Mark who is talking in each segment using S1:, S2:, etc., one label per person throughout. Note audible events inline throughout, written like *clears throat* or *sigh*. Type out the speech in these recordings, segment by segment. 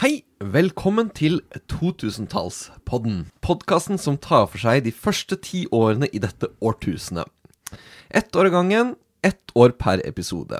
S1: Hei! Velkommen til 2000-tallspodden. Podkasten som tar for seg de første ti årene i dette årtusenet. Ett år av gangen, ett år per episode.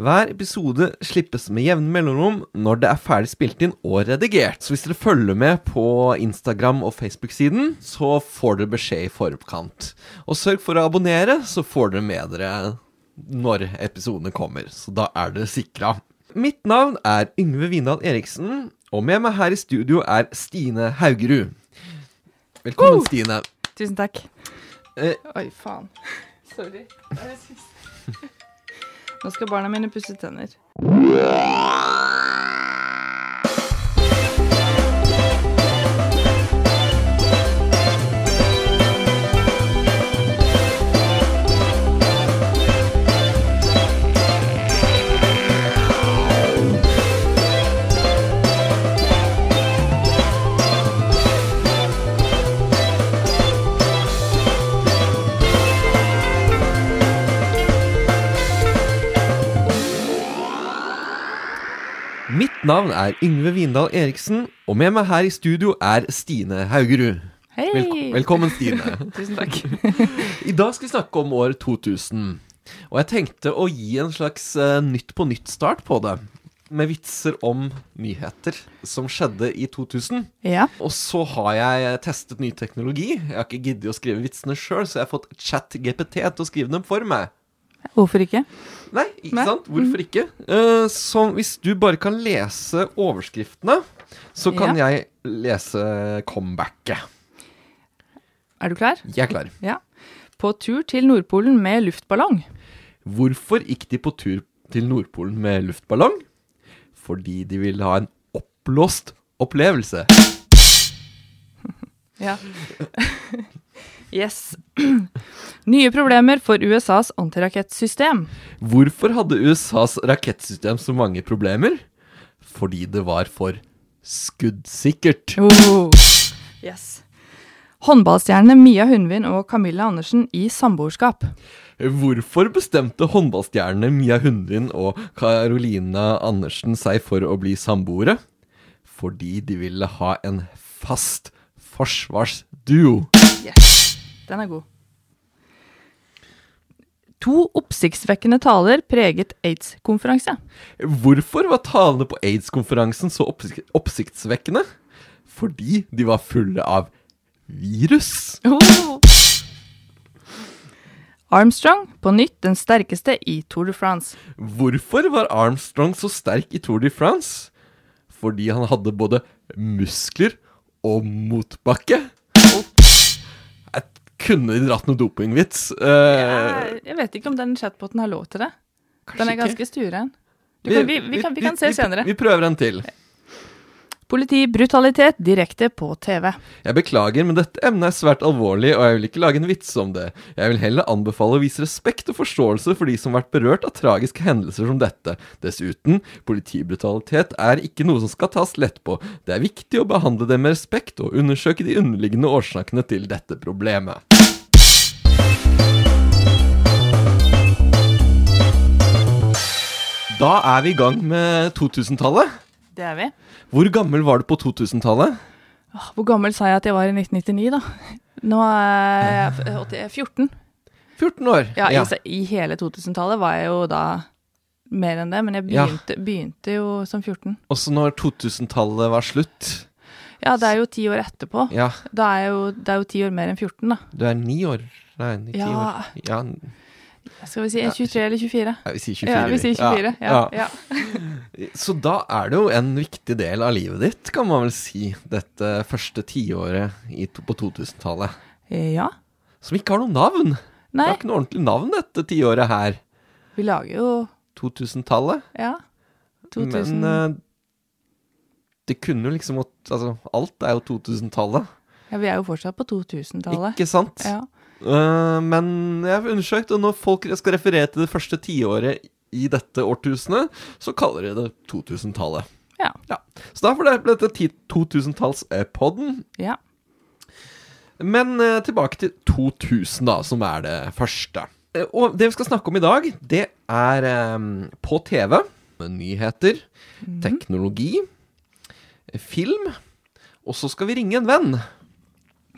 S1: Hver episode slippes med jevne mellomrom når det er ferdig spilt inn og redigert. Så hvis dere følger med på Instagram og Facebook-siden, så får dere beskjed i forkant. Og sørg for å abonnere, så får dere med dere når episodene kommer. Så da er dere sikra. Mitt navn er Yngve Vindal Eriksen, og med meg her i studio er Stine Haugerud. Velkommen, Stine.
S2: Tusen takk.
S1: Eh.
S2: Oi, faen. *laughs* Sorry. Det er det siste. Nå skal barna mine pusse tenner.
S1: Mitt navn er Yngve Vindal Eriksen, og med meg her i studio er Stine Haugerud.
S2: Hei!
S1: Velko- velkommen, Stine.
S2: Tusen takk.
S1: *laughs* I dag skal vi snakke om år 2000. Og jeg tenkte å gi en slags eh, Nytt på nytt-start på det. Med vitser om nyheter som skjedde i 2000.
S2: Ja.
S1: Og så har jeg testet ny teknologi. Jeg har ikke giddet å skrive vitsene sjøl, så jeg har fått ChatGPT til å skrive dem for meg.
S2: Hvorfor ikke?
S1: Nei, ikke
S2: Nei.
S1: sant? Hvorfor ikke? Eh, så hvis du bare kan lese overskriftene, så kan jeg lese comebacket.
S2: Er du klar?
S1: Jeg er klar.
S2: Ja. På tur til Nordpolen med luftballong.
S1: Hvorfor gikk de på tur til Nordpolen med luftballong? Fordi de ville ha en oppblåst opplevelse.
S2: Ja. *laughs* yes. *clears throat* Nye problemer for USAs antirakettsystem.
S1: Hvorfor hadde USAs rakettsystem så mange problemer? Fordi det var for skuddsikkert.
S2: Oh. Yes. Håndballstjernene Mia Hundvin og Camilla Andersen i samboerskap.
S1: Hvorfor bestemte håndballstjernene Mia Hundvin og Carolina Andersen seg for å bli samboere? Fordi de ville ha en fast forsvarsduo.
S2: Yes. Den er god. To oppsiktsvekkende taler preget *laughs* aids-konferanse.
S1: Hvorfor var talene på aids-konferansen så oppsik oppsiktsvekkende? Fordi de var fulle av virus.
S2: Armstrong på nytt den sterkeste i Tour de France.
S1: Hvorfor var Armstrong så sterk i Tour de France? Fordi han hadde både muskler og motbakke. Jeg kunne dratt noe dopingvits. Eh,
S2: Jeg, jeg vet ikke om den chatboten har lov til det. Den
S1: kanskje
S2: er
S1: ikke.
S2: ganske stueren. Du kan- Vi, vi, kan, vi kan se senere.
S1: Vi prøver en til.
S2: Politibrutalitet direkte på TV.
S1: Jeg beklager, men dette emnet er svært alvorlig, og jeg vil ikke lage en vits om det. Jeg vil heller anbefale å vise respekt og forståelse for de som har vært berørt av tragiske hendelser som dette. Dessuten, politibrutalitet er ikke noe som skal tas lett på. Det er viktig å behandle det med respekt, og undersøke de underliggende årsakene til dette problemet. Da er vi i gang med 2000-tallet.
S2: Det er vi.
S1: Hvor gammel var du på 2000-tallet?
S2: Åh, Hvor gammel sa jeg at jeg var i 1999, da? Nå er jeg f- 80 14.
S1: 14 år.
S2: Ja, I, se- i hele 2000-tallet var jeg jo da mer enn det, men jeg
S1: Ja.
S2: begynte, begynte jo som 14.
S1: Også når 2000-tallet var slutt.
S2: Ja, det er jo ti år etterpå.
S1: Ja,
S2: Da er jeg jo, det er jo ti år mer enn 14, da.
S1: du er ni år. Nei, ni, ti
S2: Ja.
S1: år. Ja, n-
S2: Skal vi si 23 eller 24?
S1: nei, vi sier 24.
S2: Ja, vi sier 24. Ja,
S1: Ja.
S2: ja.
S1: Så da er det jo en viktig del av livet ditt, kan man vel si. Dette første tiåret i, to- på 2000-tallet.
S2: Eh, ja.
S1: Som ikke har noe navn. Det
S2: Nei,
S1: har ikke noe ordentlig navn, dette tiåret her.
S2: vi lager jo
S1: 2000-tallet.
S2: Ja. 2000
S1: Men eh, det kunne jo liksom gått- Altså, alt er jo 2000-tallet,
S2: Ja, vi er jo fortsatt på 2000-tallet.
S1: ikke sant?
S2: Ja.
S1: Eh, men jeg har undersøkt, og når folk skal referere til det første tiåret i dette årtusenet, så kaller de det 2000-tallet.
S2: Ja.
S1: Så derfor ble dette ti- 2000-tallspodden.
S2: ja.
S1: Men eh, tilbake til 2000, da, som er det første. Eh, og det vi skal snakke om i dag, det
S2: Mhm.
S1: er eh, på TV, med nyheter, teknologi, film. Og så skal vi ringe en venn.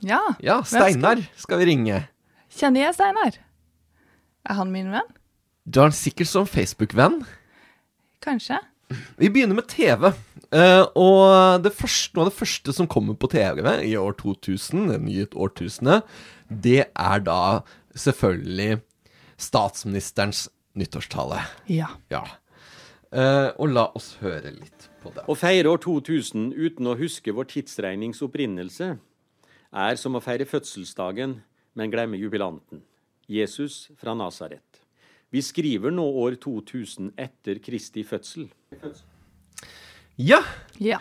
S2: Ja.
S1: Ja,
S2: skal-
S1: Steinar skal vi ringe.
S2: Kjenner jeg Steinar? Er han min venn?
S1: Du har han sikkert som Facebook-venn.
S2: Kanskje.
S1: Vi begynner med TV. eh, og det første, noe av det første som kommer på TV i år 2000, det nye årtusenet, det er da selvfølgelig statsministerens nyttårstale.
S2: Ja.
S1: Ja. Eh, og la oss høre litt på det.
S3: Å feire år 2000 uten å huske vår tidsregnings opprinnelse er som å feire fødselsdagen, men glemme jubilanten Jesus fra Nasaret. Vi skriver nå år 2000 etter Kristi fødsel.
S1: Ja,
S2: Ja.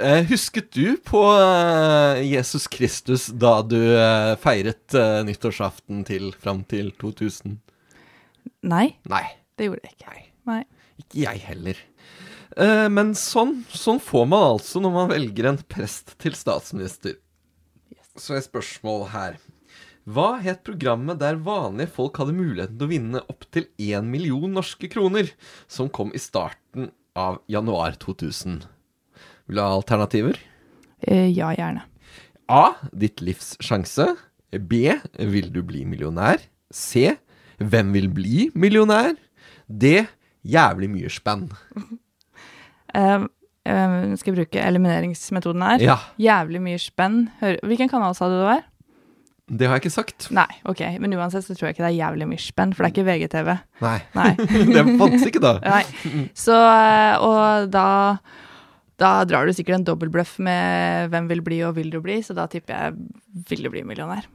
S1: eh, husket du på eh, Jesus Kristus da du eh, feiret eh, nyttårsaften til fram til 2000?
S2: Nei,
S1: Nei.
S2: det gjorde jeg ikke. Nei.
S1: Ikke jeg heller. Eh, men sånn, sånn får man altså når man velger en prest til statsminister. Så et spørsmål her. Hva het programmet der vanlige folk hadde muligheten til å vinne opptil én million norske kroner, som kom i starten av januar 2000? Vil du ha alternativer?
S2: Eh, ja, gjerne.
S1: A. Ditt livs sjanse. B. Vil du bli millionær? C. Hvem vil bli millionær? D. Jævlig mye spenn.
S2: Eh, eh, skal jeg bruke elimineringsmetoden her?
S1: Ja.
S2: Jævlig mye spenn. Hør, hvilken kanal sa du det var?
S1: Det har jeg ikke sagt.
S2: Nei, ok. Men uansett så tror jeg ikke det er jævlig mye spenn, for det er ikke VGTV.
S1: Nei.
S2: Nei.
S1: *laughs* det fantes ikke da.
S2: Nei. Så, eh, og da, da drar du sikkert en dobbeltbløff med hvem vil bli og vil du bli, så da tipper jeg vil du bli millionær.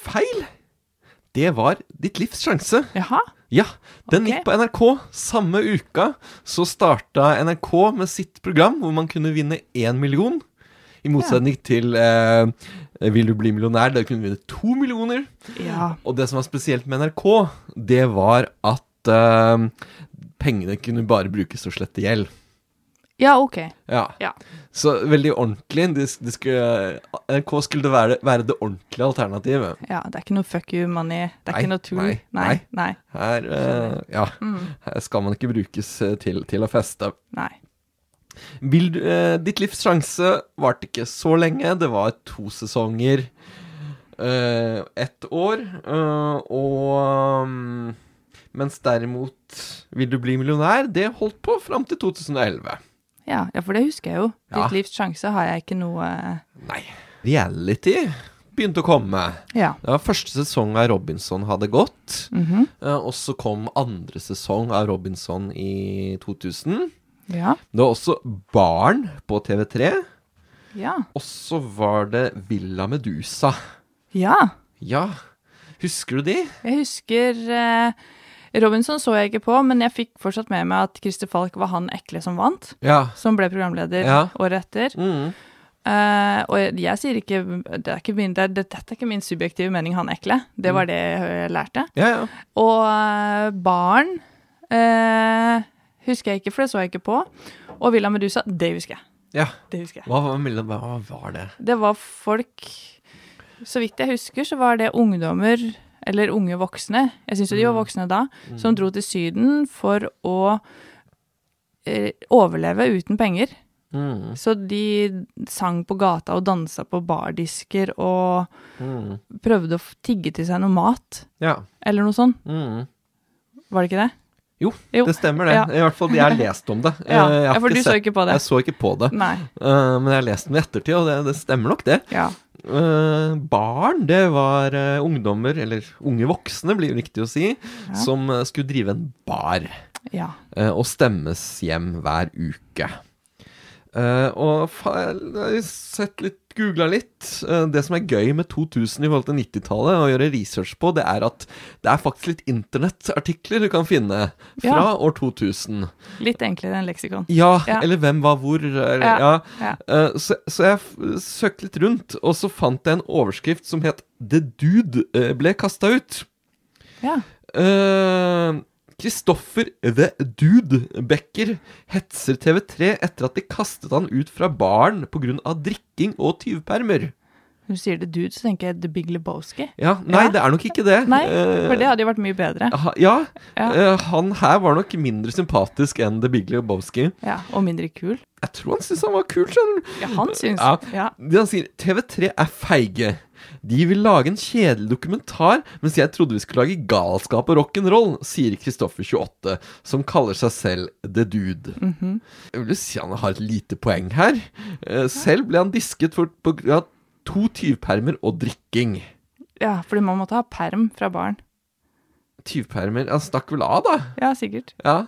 S1: Feil! Det var Ditt livs sjanse.
S2: Jaha.
S1: Ja, den
S2: Ok.
S1: gikk på NRK. Samme uka så starta NRK med sitt program hvor man kunne vinne én million. I motsetning til eh, Vil du bli millionær? Der kunne du vinne to millioner.
S2: Ja.
S1: Og det som var spesielt med NRK, det var at eh, pengene kunne bare brukes til å slette gjeld.
S2: Ja, ok.
S1: Ja.
S2: Ja.
S1: Så veldig ordentlig. Det, det skulle, NRK skulle det være, være det ordentlige alternativet.
S2: Ja, det er ikke noe fuck you money. Det er
S1: Nei,
S2: ikke noe tull.
S1: nei,
S2: Nei, nei, Mm.
S1: Her, eh, ja, her skal man ikke brukes eh, til, til å feste.
S2: nei.
S1: Vil, du- eh, ditt livs sjanse varte ikke så lenge. Det var to sesonger, eh, ett år, eh, og mm, Mens derimot Vil du bli millionær? Det holdt på fram til 2011.
S2: Ja, ja, for det husker jeg jo.
S1: Ja.
S2: Ditt livs sjanse har jeg ikke noe eh,
S1: Nei. Reality begynte å komme.
S2: Ja.
S1: Det var første sesong av Robinson hadde gått.
S2: Mhm.
S1: eh, og så kom andre sesong av Robinson i 2000.
S2: Ja.
S1: Det var også Barn på TV3.
S2: Ja.
S1: Og så var det Villa Medusa.
S2: ja.
S1: Ja, husker du de?
S2: Jeg husker eh, Robinson så jeg ikke på, men jeg fikk fortsatt med meg at Christer Falk var han ekle som vant,
S1: Ja.
S2: som ble programleder
S1: Ja.
S2: året etter.
S1: Mm.
S2: Eh, og jeg, jeg sier ikke, det er ikke min, det er, Dette er ikke min subjektive mening, han ekle. Det
S1: Mm.
S2: var det jeg lærte.
S1: Ja, ja.
S2: Og eh, barn eh, husker jeg ikke, for det så jeg ikke på. Og Villa Medusa, det husker jeg.
S1: ja.
S2: Det husker jeg.
S1: Hva, var- hva var det?
S2: Det var folk Så vidt jeg husker, så var det ungdommer, eller unge voksne, jeg syns jo de var
S1: Mm.
S2: voksne da, som dro til Syden for å eh, overleve uten penger.
S1: Mm.
S2: Så de sang på gata og dansa på bardisker og
S1: Mm.
S2: prøvde å f- tigge til seg noe mat,
S1: Ja.
S2: eller noe sånt.
S1: Mm.
S2: Var det ikke det?
S1: Jo,
S2: Jo.
S1: det stemmer det.
S2: Ja.
S1: I hvert fall jeg har lest om det.
S2: Ja,
S1: Eh, jeg har
S2: ja, for du så
S1: sett-
S2: ikke på det.
S1: Jeg så ikke på det.
S2: Nei.
S1: Eh, men jeg har lest den i ettertid, og det, det stemmer nok, det.
S2: Ja.
S1: Eh, barn, det var eh, ungdommer, eller unge voksne blir det riktig å si, som eh, skulle drive en bar
S2: Ja.
S1: eh, og stemmes hjem hver uke. Eh, og fa jeg har sett litt, googla litt. Eh, det som er gøy med 2000 i forhold til 90-tallet, å gjøre research på, det er at det er faktisk litt internettartikler du kan finne fra
S2: Ja.
S1: år 2000.
S2: Litt enklere enn leksikon.
S1: Ja,
S2: Ja.
S1: eller hvem var hvor. Eller,
S2: Ja,
S1: ja.
S2: ja.
S1: Eh, så, så jeg f- søkte litt rundt, og så fant jeg en overskrift som het 'The Dude eh, ble kasta ut'.
S2: Ja.
S1: Kristoffer The Dude Becker hetser TV3 etter at de kastet han ut fra baren pga. drikking og tyvpermer.
S2: Når du sier The Dude, så tenker jeg The Big Lebowski.
S1: Ja, Nei,
S2: Ja.
S1: det er nok ikke det.
S2: Nei,
S1: Eh,
S2: for det hadde jo vært mye bedre.
S1: ha- Ja,
S2: Ja.
S1: eh, han her var nok mindre sympatisk enn The Big Lebowski.
S2: Ja, Og mindre kul.
S1: Jeg tror han syntes han var kul, skjønner du.
S2: Ja, han syns
S1: Ja.
S2: ja.
S1: Det Han sier TV3 er feige. De vil lage en kjedelig dokumentar, mens jeg trodde vi skulle lage galskap og rock'n'roll, sier Kristoffer28, som kaller seg selv The Dude. Jeg vil jo si han har et lite poeng her. Eh, Selv ble han disket for på, grunn av to tyvpermer og drikking.
S2: ja, fordi man måtte ha perm fra barn.
S1: Tyvpermer Han stakk vel av, da?
S2: Ja, sikkert.
S1: Ja.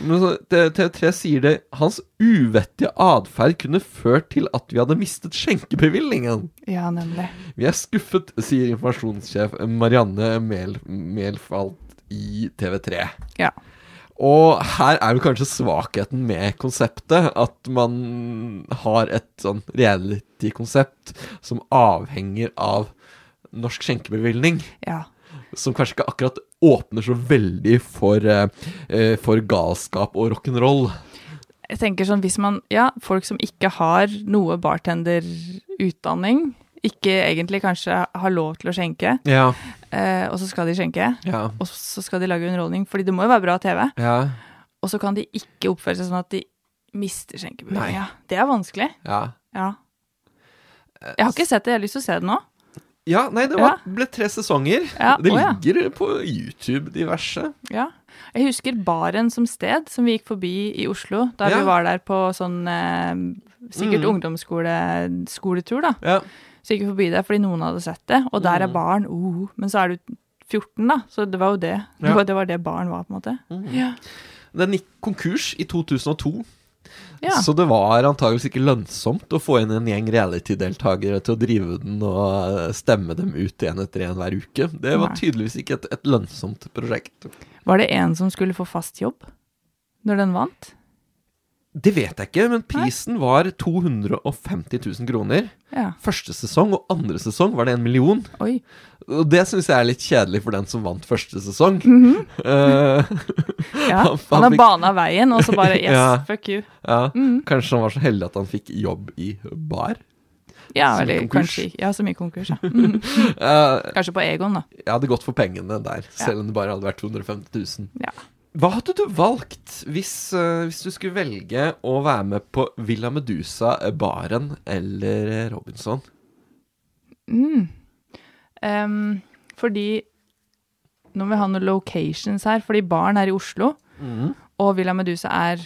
S1: Men så, T- TV3 sier det Hans uvettige atferd kunne ført til at vi hadde mistet skjenkebevilgningen.
S2: Ja, nemlig.
S1: Vi er skuffet, sier informasjonssjef Marianne Mehl Melfalt i TV3.
S2: Ja.
S1: Og her er jo kanskje svakheten med konseptet, at man har et sånn reality-konsept som avhenger av norsk skjenkebevilgning,
S2: ja.
S1: som kanskje ikke akkurat åpner så veldig for, eh, eh, for galskap og rock'n'roll.
S2: Jeg tenker sånn, hvis man, ja, Folk som ikke har noe bartenderutdanning, ikke egentlig kanskje har lov til å skjenke,
S1: Ja,
S2: eh, og så skal de skjenke,
S1: ja,
S2: og så skal de lage underholdning, fordi det må jo være bra TV,
S1: ja.
S2: og så kan de ikke oppføre seg sånn at de mister skjenkebevillinga. Det er vanskelig.
S1: ja.
S2: Ja. Jeg har ikke sett det, jeg har lyst til å se det nå.
S1: Ja, nei, det var, ble tre sesonger.
S2: Ja,
S1: det
S2: å ja.
S1: ligger på YouTube, diverse.
S2: Ja. Jeg husker baren som sted, som vi gikk forbi i Oslo da
S1: Ja. Mm.
S2: vi var der på sånn eh, sikkert ungdomsskoletur, da.
S1: Ja.
S2: Så gikk vi forbi der fordi noen hadde sett det, og der er
S1: Mm.
S2: baren. Uh, men så er du 14, da, så det var jo det.
S1: Ja. Mm.
S2: Det, var, det var det baren var, på en måte. Ja.
S1: Den gikk konkurs i 2002,
S2: ja.
S1: så det var antageligvis ikke lønnsomt å få inn en gjeng reality-deltakere til å drive den og eh, stemme dem ut en etter en hver uke. Det var
S2: Nei.
S1: tydeligvis ikke et, et lønnsomt prosjekt.
S2: Var det en som skulle få fast jobb når den vant?
S1: Det vet jeg ikke, men prisen var 250 000 kroner.
S2: Ja.
S1: Første sesong og andre sesong var det en million. *laughs*
S2: Oi.
S1: Og det syns jeg er litt kjedelig for den som vant første sesong.
S2: Mhm.
S1: *laughs* Eh,
S2: Ja.
S1: Han- han
S2: Han har
S1: fikk-
S2: bana veien, og så
S1: *laughs*
S2: bare Yes,
S1: Ja.
S2: fuck you.
S1: ja.
S2: Mhm.
S1: Kanskje han var så heldig at han fikk jobb i bar.
S2: Ja,
S1: Som i
S2: eller
S1: konkurs.
S2: kanskje Ja, som i konkurs, ja. Mhm.
S1: Eh,
S2: Kanskje på Egon, da.
S1: Jeg hadde gått for pengene der, selv om det bare hadde vært 250 000.
S2: Ja.
S1: Hva hadde du valgt hvis, eh, hvis du skulle velge å være med på Villa Medusa, eh, Baren eller eh, Robinson?
S2: Mm. Ehm, fordi Nå må vi ha noen locations her, fordi baren er i Oslo, og Villa Medusa er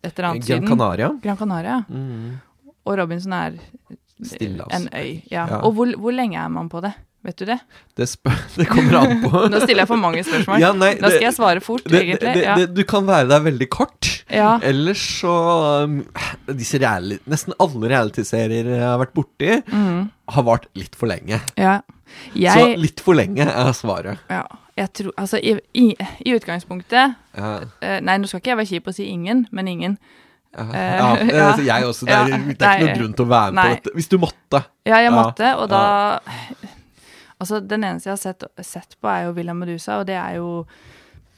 S2: et eller annet
S1: Mhm. Gran Mhm. Canaria?
S2: Gran Canaria. Og Robinson er en
S1: Stillehavs.
S2: øy. Ja.
S1: altså. Ja.
S2: Og hvor, hvor lenge er man på det? Vet du det?
S1: Det, spør- *laughs* det kommer an på.
S2: *laughs* Nå stiller jeg for
S1: *laughs*
S2: mange spørsmål.
S1: Ja, nei,
S2: da
S1: det-
S2: skal jeg svare fort,
S1: Det, det,
S2: egentlig.
S1: det,
S2: ja.
S1: det, du kan være der veldig kort.
S2: Ja.
S1: Ellers så um, disse reali Nesten alle realityserier jeg har vært borti, har vart litt for lenge.
S2: ja.
S1: Så
S2: Mm. Jeg,
S1: litt for lenge er svaret.
S2: ja, jeg tror Altså, i, i, i utgangspunktet
S1: Ja.
S2: eh, Nei, nå skal ikke jeg være kjip og si ingen, men ingen.
S1: Ja,
S2: Eh,
S1: det-
S2: ja.
S1: altså, jeg også. Det er,
S2: Ja,
S1: det er ikke
S2: nei.
S1: noen grunn til å være med
S2: Nei.
S1: på dette. Hvis du måtte.
S2: Ja, jeg
S1: Ja,
S2: måtte, og da Altså, den eneste jeg har sett, sett på, er jo Villa Medusa, og det er jo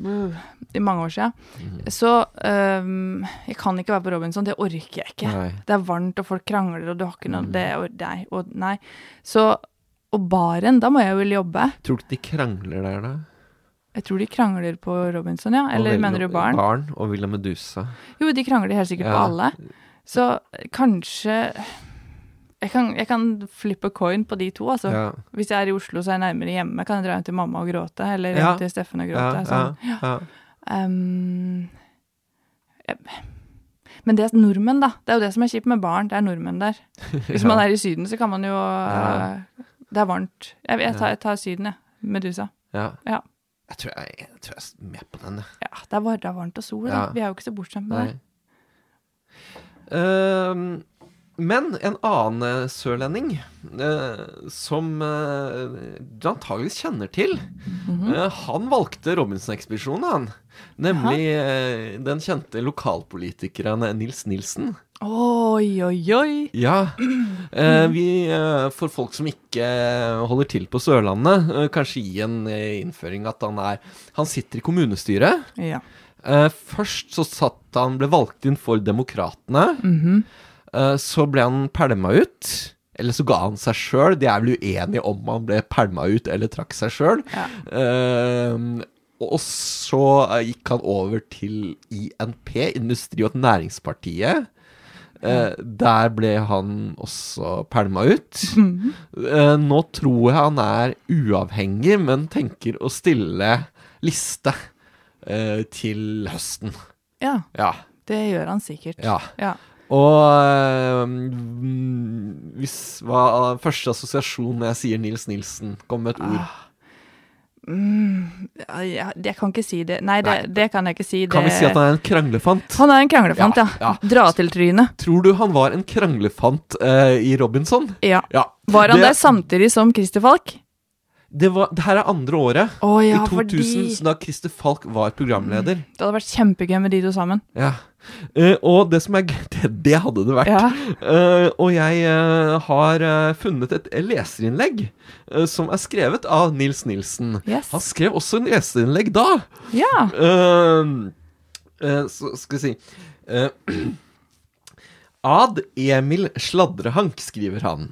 S2: uh, i mange år siden.
S1: Mhm.
S2: Så øhm, jeg kan ikke være på Robinson, det orker jeg ikke.
S1: Nei. Mhm.
S2: Det er varmt, og folk krangler, og du har ikke noe det, og, nei, og nei. Så Og baren, da må jeg vel jobbe.
S1: Tror du ikke de krangler der, da?
S2: Jeg tror de krangler på Robinson, ja. Eller
S1: Og
S2: mener du
S1: Villa-
S2: baren?
S1: Barn og Villa Medusa.
S2: Jo, de krangler helt sikkert på
S1: Ja.
S2: alle. Så kanskje jeg kan, jeg kan flippe coin på de to, altså.
S1: Ja.
S2: Hvis jeg er i Oslo, så er jeg nærmere hjemme. Kan jeg dra hjem til mamma og gråte? Eller
S1: Ja.
S2: hjem til Steffen og
S1: Ja, ja,
S2: gråte? Sånn.
S1: ja.
S2: Ehm, eh, men det er nordmenn, da. Det er jo det som er kjipt med barn. Det er nordmenn der. Hvis man er i Syden, så kan man jo
S1: Ja.
S2: eh, Det er varmt. Jeg, jeg, tar, jeg tar Syden, jeg. Medusa.
S1: ja.
S2: Ja.
S1: Jeg tror jeg, jeg tror jeg er med på den, jeg.
S2: ja det, er, var- det er varmt og sol.
S1: Ja.
S2: Da. Vi er jo ikke så bortskjemt med
S1: Nei.
S2: det.
S1: Ehm, men en annen eh, sørlending eh, som eh, du antageligvis kjenner til, eh, han valgte Robinson-ekspedisjonen, han. Nemlig eh, den kjente lokalpolitikeren eh, Nils Nilsen.
S2: Oi, oi, oi!
S1: Ja. *clears throat* Eh, vi, eh, for folk som ikke eh, holder til på Sørlandet, eh, kanskje gi en eh, innføring at han er Han sitter i kommunestyret.
S2: Ja.
S1: Eh, først så satt han, ble valgt inn for Demokratene. Eh, så ble han pælma ut Eller så ga han seg sjøl. De er vel uenige om han ble pælma ut eller trakk seg sjøl. Eh,
S2: Ja.
S1: og så eh, gikk han over til INP, Industri- og Næringspartiet. Eh, der ble han også pælma ut.
S2: Mhm.
S1: Eh, nå tror jeg han er uavhengig, men tenker å stille liste eh, til høsten.
S2: Ja,
S1: Ja.
S2: det gjør han sikkert.
S1: ja.
S2: Ja.
S1: Og eh, mm, hvis hva første assosiasjon når jeg sier Nils Nilsen, kom med et ord.
S2: Ah, Ja, ja, det- jeg kan ikke si det. Nei, det,
S1: Nei.
S2: det kan jeg ikke si. Det...
S1: Kan vi si at han er en kranglefant?
S2: Han er en kranglefant,
S1: Ja,
S2: ja.
S1: ja.
S2: Dra til trynet.
S1: Tror du han var en kranglefant eh, i Robinson?
S2: Ja.
S1: Ja.
S2: Var han
S1: det,
S2: der samtidig som Christer Falk?
S1: Det, var, det her er andre året.
S2: Å ja,
S1: I 2000,
S2: fordi
S1: så da Christer Falk var programleder.
S2: Det hadde vært kjempegøy med de to sammen.
S1: Mm. Ja. Eh, og det som er gøy, *laughs* det, det hadde det vært.
S2: Ja.
S1: Eh, og jeg eh, har eh, funnet et leserinnlegg eh, som er skrevet av Nils Nilsen.
S2: Yes.
S1: Han skrev også en leserinnlegg da.
S2: Ja.
S1: Ehm, eh, så skal vi si eh, Ad Emil Sladrehank, skriver han.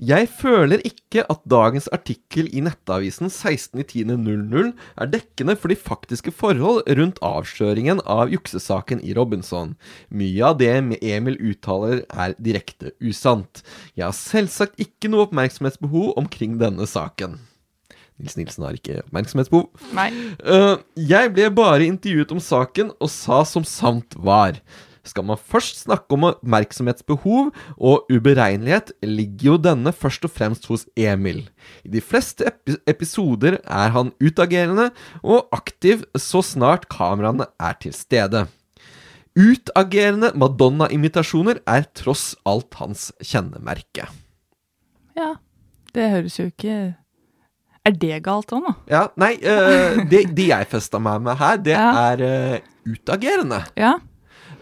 S1: Jeg føler ikke at dagens artikkel i Nettavisen 16.10.00 er dekkende for de faktiske forhold rundt avsløringen av juksesaken i Robinson. Mye av det Emil uttaler er direkte usant. Jeg har selvsagt ikke noe oppmerksomhetsbehov omkring denne saken. Nils Nilsen har ikke oppmerksomhetsbehov.
S2: Nei.
S1: Eh, jeg ble bare intervjuet om saken og sa som sant var. Skal man først snakke om oppmerksomhetsbehov og uberegnelighet, ligger jo denne først og fremst hos Emil. I de fleste epi episoder er han utagerende og aktiv så snart kameraene er til stede. Utagerende Madonna-imitasjoner er tross alt hans kjennemerke.
S2: Ja. Det høres jo ikke Er det galt òg, nå?
S1: Ja, nei, eh, det, det jeg festa meg med her, det
S2: Ja.
S1: er eh, utagerende.
S2: Ja.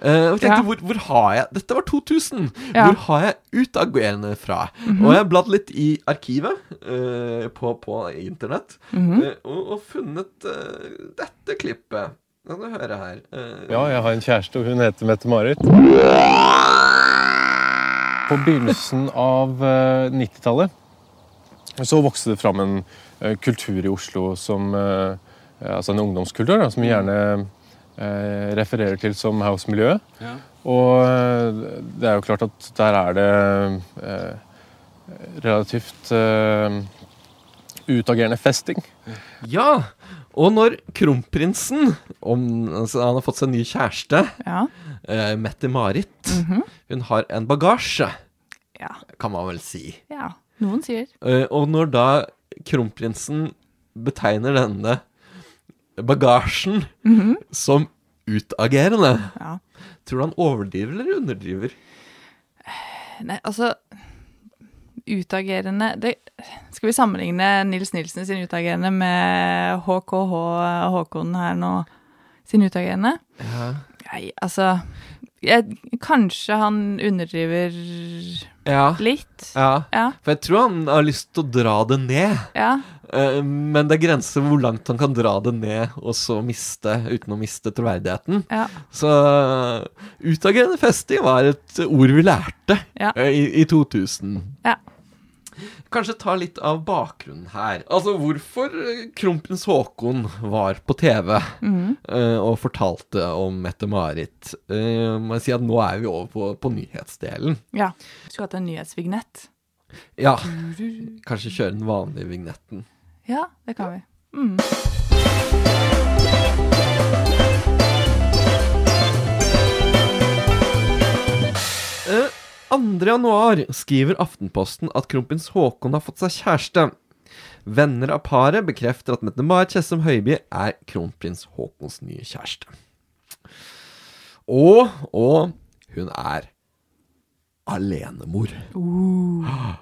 S1: Eh, og jeg tenkte,
S2: Ja.
S1: hvor, hvor har jeg Dette var 2000.
S2: Ja. Mhm.
S1: Hvor har jeg utagerende fra? Og jeg har bladd litt i arkivet eh, på, på internett
S2: Mhm.
S1: eh, og, og funnet eh, dette klippet. La du høre her. Eh,
S4: Ja, jeg har en kjæreste, og hun heter Mette-Marit. På begynnelsen av eh, 90-tallet så vokste det fram en eh, kultur i Oslo som eh, Altså en ungdomskultur da, som vi gjerne eh, refererer til som house-miljøet. Og eh, det er jo klart at der er det eh, relativt eh, utagerende festing.
S1: Ja, og når kronprinsen om, altså, Han har fått seg en ny kjæreste,
S2: Ja.
S1: eh, Mette-Marit.
S2: Mhm.
S1: Hun har en bagasje,
S2: Ja.
S1: kan man vel si.
S2: ja. Noen sier
S1: Eh, og når da kronprinsen betegner denne bagasjen som utagerende,
S2: Ja.
S1: tror du han overdriver eller underdriver?
S2: Nei, altså Utagerende det, Skal vi sammenligne Nils Nilsen sin utagerende med HKH Håkon her nå sin utagerende? Nei, altså jeg, Kanskje han underdriver
S1: Ja.
S2: litt.
S1: ja.
S2: Ja.
S1: For jeg tror han har lyst til å dra det ned,
S2: ja.
S1: eh, men det er grenser hvor langt han kan dra det ned og så miste, uten å miste troverdigheten.
S2: Ja.
S1: Så eh, utagerende festing var et ord vi lærte
S2: Ja.
S1: eh, i, i 2000.
S2: ja.
S1: Kanskje ta litt av bakgrunnen her. Altså hvorfor eh, kronprins Haakon var på TV
S2: Mhm.
S1: eh, og fortalte om Mette-Marit. Eh, må jeg si at nå er vi over på, på nyhetsdelen.
S2: ja. Skulle hatt en nyhetsvignett.
S1: Ja, kanskje kjøre den vanlige vignetten.
S2: Ja, det kan vi.
S1: Eh, 2. januar skriver Aftenposten at kronprins Haakon har fått seg kjæreste. Venner av paret bekrefter at Mette-Marit Tjessem Høiby er kronprins Haakons nye kjæreste. Og, og hun er alenemor. Huh.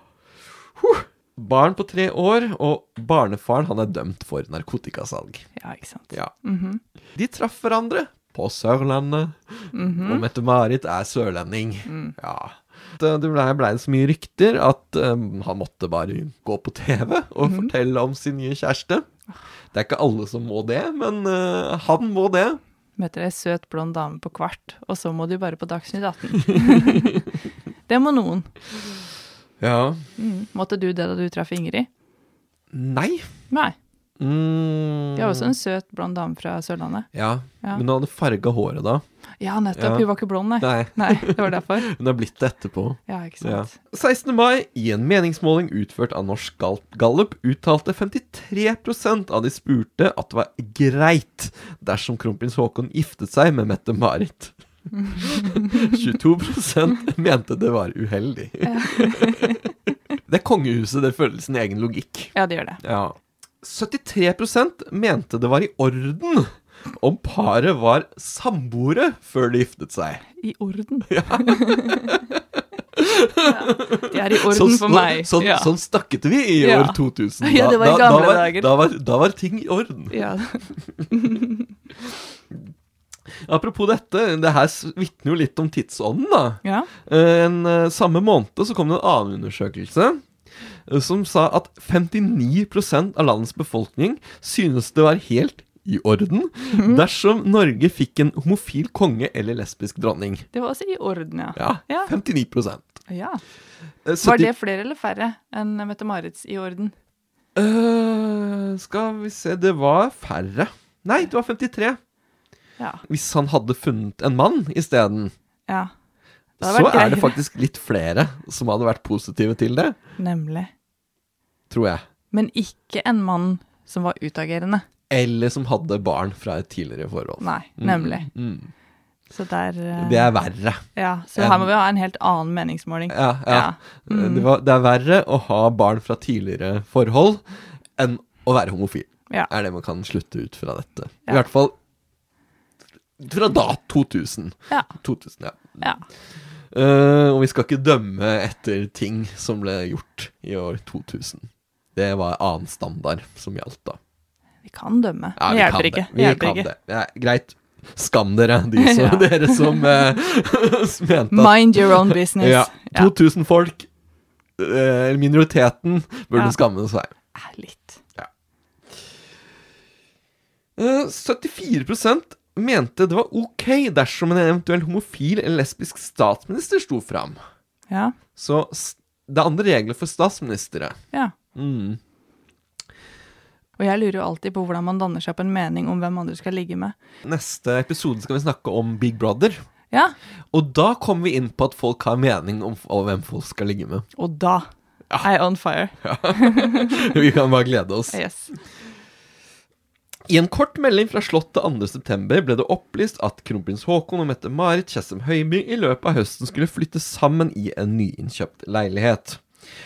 S1: Barn på tre år, og barnefaren han er dømt for narkotikasalg.
S2: Ja, ikke sant.
S1: Ja. De traff hverandre på Sørlandet, og Mette-Marit er sørlending. Ja. Det det ble, ble det så mye rykter at um, han måtte bare gå på TV og fortelle om sin nye kjæreste. Det er ikke alle som må det, men uh, han må det.
S2: Møter ei søt, blond dame på *laughs* kvart, og så må du bare på Dagsnytt 18. det må noen.
S1: Ja.
S2: Mm. Måtte du det da du traff Ingrid?
S1: Nei.
S2: Nei.
S1: Mm.
S2: Vi har også en søt blond dame fra Sørlandet.
S1: Ja.
S2: Ja.
S1: Men hun hadde farga håret da.
S2: Ja, nettopp.
S1: Ja.
S2: Hun var ikke blond, nei.
S1: Nei,
S2: Nei, det var derfor.
S1: hun har blitt det etterpå.
S2: Ja, ikke
S1: Ja.
S2: sant.
S1: 16. mai, i en meningsmåling utført av Norsk Gal- Gallup, uttalte 53 av de spurte at det var greit dersom kronprins Haakon giftet seg med Mette-Marit. 22 mente det var uheldig. det kongehuset, det føler sin egen logikk.
S2: Ja, det gjør det.
S1: Ja. 73 mente det var i orden om paret var samboere før de giftet seg.
S2: I orden. *laughs* Ja. Det er i orden
S1: Sånn-
S2: for meg.
S1: Sånn,
S2: ja.
S1: sånn snakket vi i
S2: Ja.
S1: år 2000.
S2: Ja, det var i gamle
S1: da, var,
S2: dager.
S1: Da var, da var ting i orden.
S2: Ja.
S1: Apropos dette, det her s- vitner jo litt om tidsånden, da.
S2: ja.
S1: Eh, En, eh, samme måned så kom det en annen undersøkelse eh, som sa at 59 av landets befolkning synes det var helt i orden
S2: Mhm.
S1: dersom Norge fikk en homofil konge eller lesbisk dronning.
S2: Det var også i orden, ja.
S1: Ja,
S2: Ja.
S1: 59
S2: ja.
S1: Eh,
S2: Var
S1: 70
S2: det flere eller færre enn Mette-Marits i orden?
S1: Eh, Skal vi se, det var færre. Nei, det var 53.
S2: Ja.
S1: Hvis han hadde funnet en mann isteden,
S2: ja. Det hadde
S1: så
S2: vært
S1: er det
S2: greiere.
S1: faktisk litt flere som hadde vært positive til det,
S2: Nemlig.
S1: tror jeg.
S2: Men ikke en mann som var utagerende.
S1: Eller som hadde barn fra et tidligere forhold.
S2: Nei, nemlig.
S1: Mm.
S2: Så der eh,
S1: Det er verre.
S2: Ja, så her må vi ha en helt annen meningsmåling.
S1: Ja, ja.
S2: Mm.
S1: Det, var, det er verre å ha barn fra tidligere forhold enn å være homofil.
S2: Ja.
S1: Er det man kan slutte ut fra dette.
S2: Ja.
S1: I hvert fall fra da 2000.
S2: Ja.
S1: 2000 ja.
S2: Ja.
S1: Eh, og vi skal ikke dømme etter ting som ble gjort i år 2000. Det var annen standard som gjaldt da.
S2: Vi kan dømme.
S1: Ja,
S2: det
S1: vi
S2: hjelper
S1: kan
S2: ikke.
S1: Det. Vi
S2: hjelper
S1: kan
S2: ikke.
S1: det. Ja, greit. Skam dere, de
S2: *laughs*
S1: som,
S2: Ja.
S1: dere som eh, *laughs* som mente at
S2: *laughs* Mind your own business.
S1: ja,
S2: ja.
S1: 2000 folk, eh, minoriteten, burde
S2: Ja.
S1: skamme seg.
S2: Eh, Litt.
S1: Eh, 74 mente det var ok dersom en eventuell homofil eller lesbisk statsminister sto fram.
S2: Ja.
S1: Så s- det er andre regler for statsministre.
S2: ja.
S1: Mm.
S2: Og jeg lurer jo alltid på hvordan man danner seg opp en mening om hvem andre skal ligge med.
S1: Neste episode skal vi snakke om Big Brother.
S2: Ja,
S1: Og da kommer vi inn på at folk har mening om f- om hvem folk skal ligge med. *laughs*
S2: og da er jeg on fire.
S1: Vi kan bare glede oss.
S2: Yes.
S1: I en kort melding fra Slottet 2.9 ble det opplyst at kronprins Haakon og Mette-Marit Tjessem Høiby i løpet av høsten skulle flytte sammen i en nyinnkjøpt leilighet.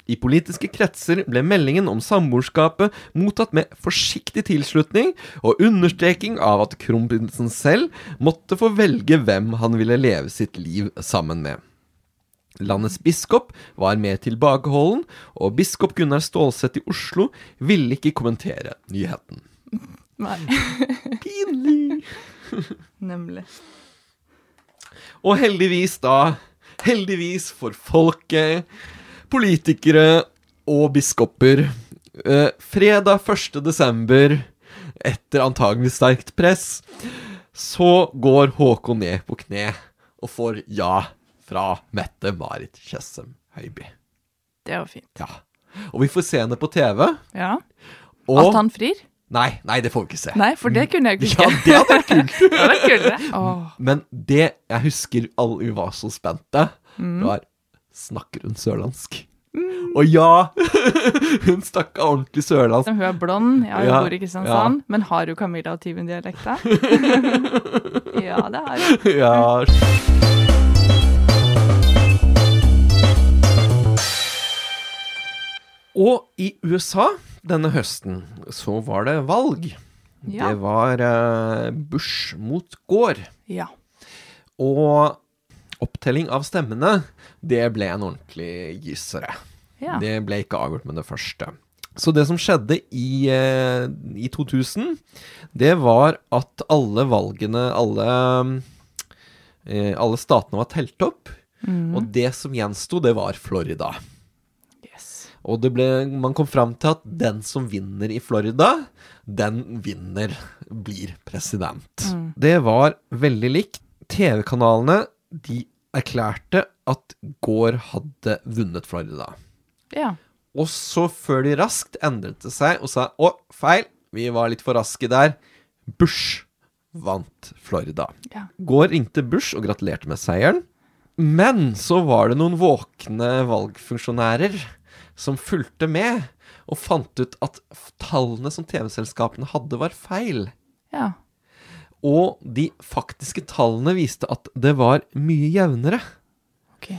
S1: I politiske kretser ble meldingen om samboerskapet mottatt med forsiktig tilslutning og understreking av at kronprinsen selv måtte få velge hvem han ville leve sitt liv sammen med. Landets biskop var mer tilbakeholden, og biskop Gunnar Stålsett i Oslo ville ikke kommentere nyheten.
S2: Nei, *laughs*
S1: Pinlig!
S2: nemlig.
S1: Og heldigvis, da. Heldigvis for folket, politikere og biskoper. Eh, fredag 1. desember, etter antagelig sterkt press, så går Håkon ned på kne og får ja fra Mette-Marit Tjessem Høiby.
S2: Det var fint.
S1: Ja. Og vi får se henne på TV.
S2: Ja.
S1: Og
S2: At han frir?
S1: Nei, nei, det får vi ikke se.
S2: Nei, for det kunne jeg ikke.
S1: *laughs* Ja, det hadde vært kult.
S2: Det hadde vært kulere. Åh.
S1: Men det jeg husker alle vi var så spente, det var Snakker hun sørlandsk? Og ja! *laughs* hun snakka ordentlig sørlandsk.
S2: Hun er blond, ja, hun
S1: Ja,
S2: bor i Kristiansand, men har hun Camilla og
S1: *laughs*
S2: Tyven-dialekta? ja, det har hun.
S1: ja. Og i USA denne høsten så var det valg.
S2: Ja.
S1: Det var eh, Bush mot Gaard.
S2: ja.
S1: Og opptelling av stemmene, det ble en ordentlig gysere.
S2: ja.
S1: Det ble ikke avgjort med det første. Så det som skjedde i, eh, i 2000, det var at alle valgene, alle, eh, alle statene var telt opp. Og det som gjensto, det var Florida.
S2: Yes.
S1: Og det ble, man kom fram til at den som vinner i Florida, den vinner, blir president. Det var veldig likt. TV-kanalene de erklærte at Gaard hadde vunnet Florida.
S2: Ja.
S1: Og så, før de raskt endret det seg og sa å, feil, vi var litt for raske der, Bush vant Florida.
S2: Ja.
S1: Går ringte Bush og gratulerte med seieren. Men så var det noen våkne valgfunksjonærer som fulgte med, og fant ut at f- tallene som TV-selskapene hadde, var feil.
S2: ja.
S1: Og de faktiske tallene viste at det var mye jevnere.
S2: Ok.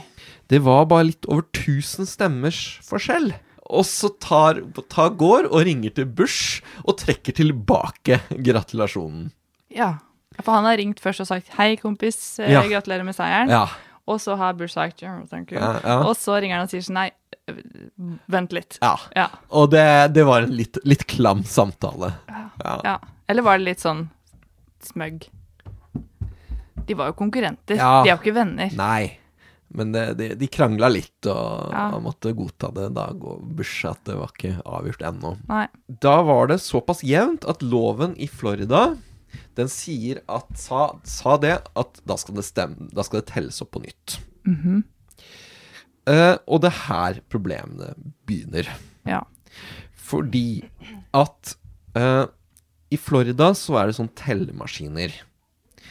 S1: Det var bare litt over 1000 stemmers forskjell. Og så tar, tar går og ringer til Bush og trekker tilbake gratulasjonen.
S2: Ja. For han har ringt først og sagt 'hei, kompis, eh,
S1: Ja.
S2: gratulerer med seieren'.
S1: Ja.
S2: Og så har Bush sagt «Ja, thank you.
S1: Ja, ja.
S2: Og så ringer han og sier sånn 'nei, øh, vent litt'.
S1: ja.
S2: Ja.
S1: Og det, det var en litt, litt klam samtale. Ja.
S2: ja. Eller var det litt sånn smøgg? De var jo konkurrenter.
S1: Ja.
S2: De er jo ikke venner.
S1: Nei. Men det, de, de krangla litt og,
S2: Ja.
S1: og måtte godta det da, og Bush, at det var ikke avgjort ennå.
S2: Nei.
S1: Da var det såpass jevnt at loven i Florida den sier at, sa, sa det at da skal det stemme, da skal det telles opp på nytt. Eh, og det er her problemene begynner.
S2: Ja.
S1: Fordi at eh, i Florida så er det sånn tellemaskiner.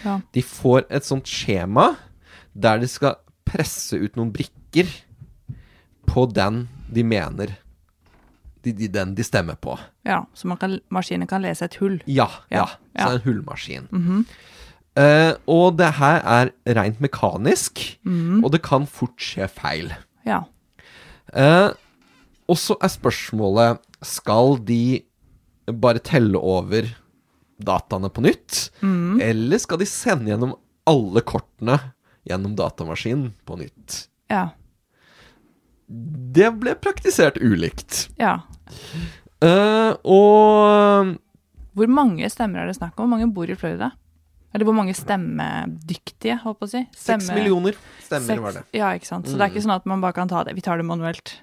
S2: Ja.
S1: De får et sånt skjema der de skal presse ut noen brikker på den de mener de, de, Den de stemmer på.
S2: ja. Så man kan, maskinen kan lese et hull.
S1: Ja, ja.
S2: Ja,
S1: Så det
S2: ja. Mhm.
S1: er en hullmaskin. Eh, og det her er rent mekanisk,
S2: Mhm.
S1: og det kan fort skje feil.
S2: Ja.
S1: Eh, og så er spørsmålet Skal de bare telle over dataene på nytt?
S2: Mhm.
S1: Eller skal de sende gjennom alle kortene gjennom datamaskinen på nytt?
S2: Ja.
S1: Det ble praktisert ulikt.
S2: ja.
S1: Eh, og
S2: Hvor mange stemmer er det snakk om? Hvor mange bor i Florida? Eller hvor mange stemmedyktige, holdt på å si?
S1: seks
S2: Stemme-
S1: millioner stemmer
S2: seks-
S1: var det. Mm.
S2: Ja, ikke sant. Så det er ikke sånn at man bare kan ta det. Vi tar det manuelt.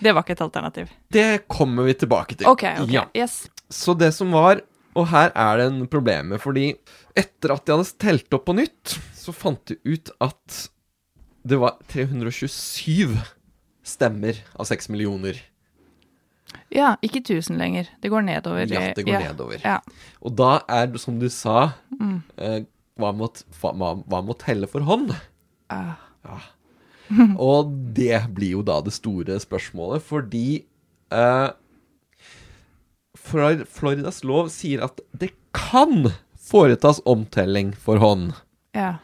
S2: Det var ikke et alternativ.
S1: Det kommer vi tilbake til.
S2: OK. ok,
S1: Ja.
S2: Yes.
S1: Så det som var Og her er det en problemet, fordi etter at de hadde telt opp på nytt, så fant de ut at det var 327 stemmer av 6 millioner.
S2: Ja, ikke 1000 lenger. Det går nedover. i-
S1: Ja, det går
S2: ja.
S1: nedover.
S2: Ja.
S1: Og da er det, som du sa,
S2: Mm.
S1: eh, hva med å t- hva- hva- hva med å telle for hånd?
S2: Ah.
S1: Og det blir jo da det store spørsmålet, fordi eh, Flor- Floridas lov sier at det kan foretas omtelling for hånd.
S2: ja.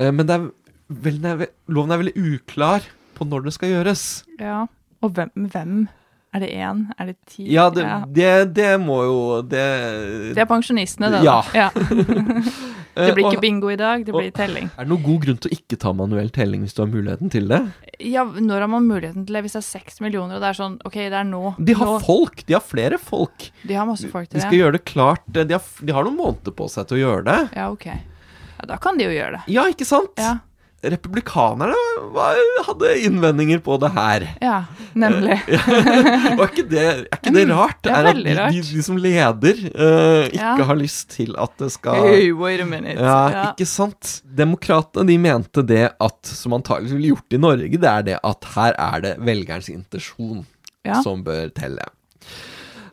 S1: Eh, Men det er vel, den er ve- loven er veldig uklar på når det skal gjøres.
S2: ja. Og hvem, hvem? Er det én? Er det ti?
S1: Ja, det, det, det må jo Det,
S2: Det er pensjonistene, det. da.
S1: Ja.
S2: ja. Det blir
S1: Eh, *laughs* og-
S2: ikke bingo i dag, det blir
S1: og-
S2: telling.
S1: Er det noen god grunn til å ikke ta manuell telling hvis du har muligheten til det?
S2: Ja, når har man muligheten til det? Hvis det er seks millioner, og det er sånn OK, det er nå.
S1: De har
S2: nå.
S1: folk! De har flere folk.
S2: De har masse folk
S1: De
S2: til
S1: skal
S2: det.
S1: gjøre det klart. eh, De har, f- de har noen måneder på seg til å gjøre det.
S2: Ja, ok. Ja, da kan de jo gjøre det.
S1: Ja, ikke sant?
S2: Ja,
S1: Republikanerne var, hadde innvendinger på det her.
S2: ja nemlig.
S1: *laughs* Og er ikke det, er
S2: *laughs*
S1: ikke det rart?
S2: Mm, Det er
S1: at
S2: veldig
S1: de, de,
S2: rart.
S1: de som leder, eh, ikke
S2: Ja.
S1: har lyst til at det skal
S2: Hey, wait a minute.
S1: Ja, ikke sant? Demokratene de mente det at, som antakelig ville gjort i Norge, det er det at her er det velgerens intensjon
S2: Ja.
S1: som bør telle.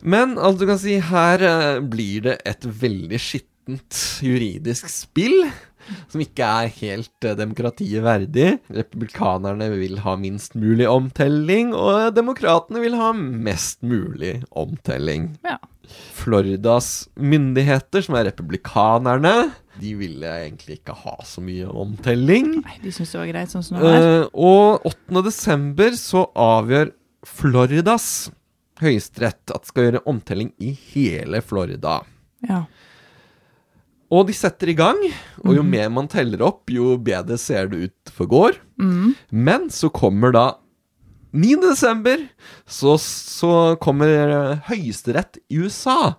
S1: Men altså, du kan si, her eh, blir det et veldig skittent juridisk spill. Som ikke er helt eh, demokratiet verdig. Republikanerne vil ha minst mulig omtelling, og demokratene vil ha mest mulig omtelling.
S2: Ja.
S1: Floridas myndigheter, som er republikanerne, de ville egentlig ikke ha så mye omtelling.
S2: Nei, De syns det var greit sånn som det var.
S1: Eh, og 8. desember så avgjør Floridas høyesterett at det skal gjøre omtelling i hele Florida.
S2: Ja.
S1: Og de setter i gang, og jo mer man teller opp, jo bedre ser det ut for gård. Men så kommer da 9. desember, så, så kommer eh, høyesterett i USA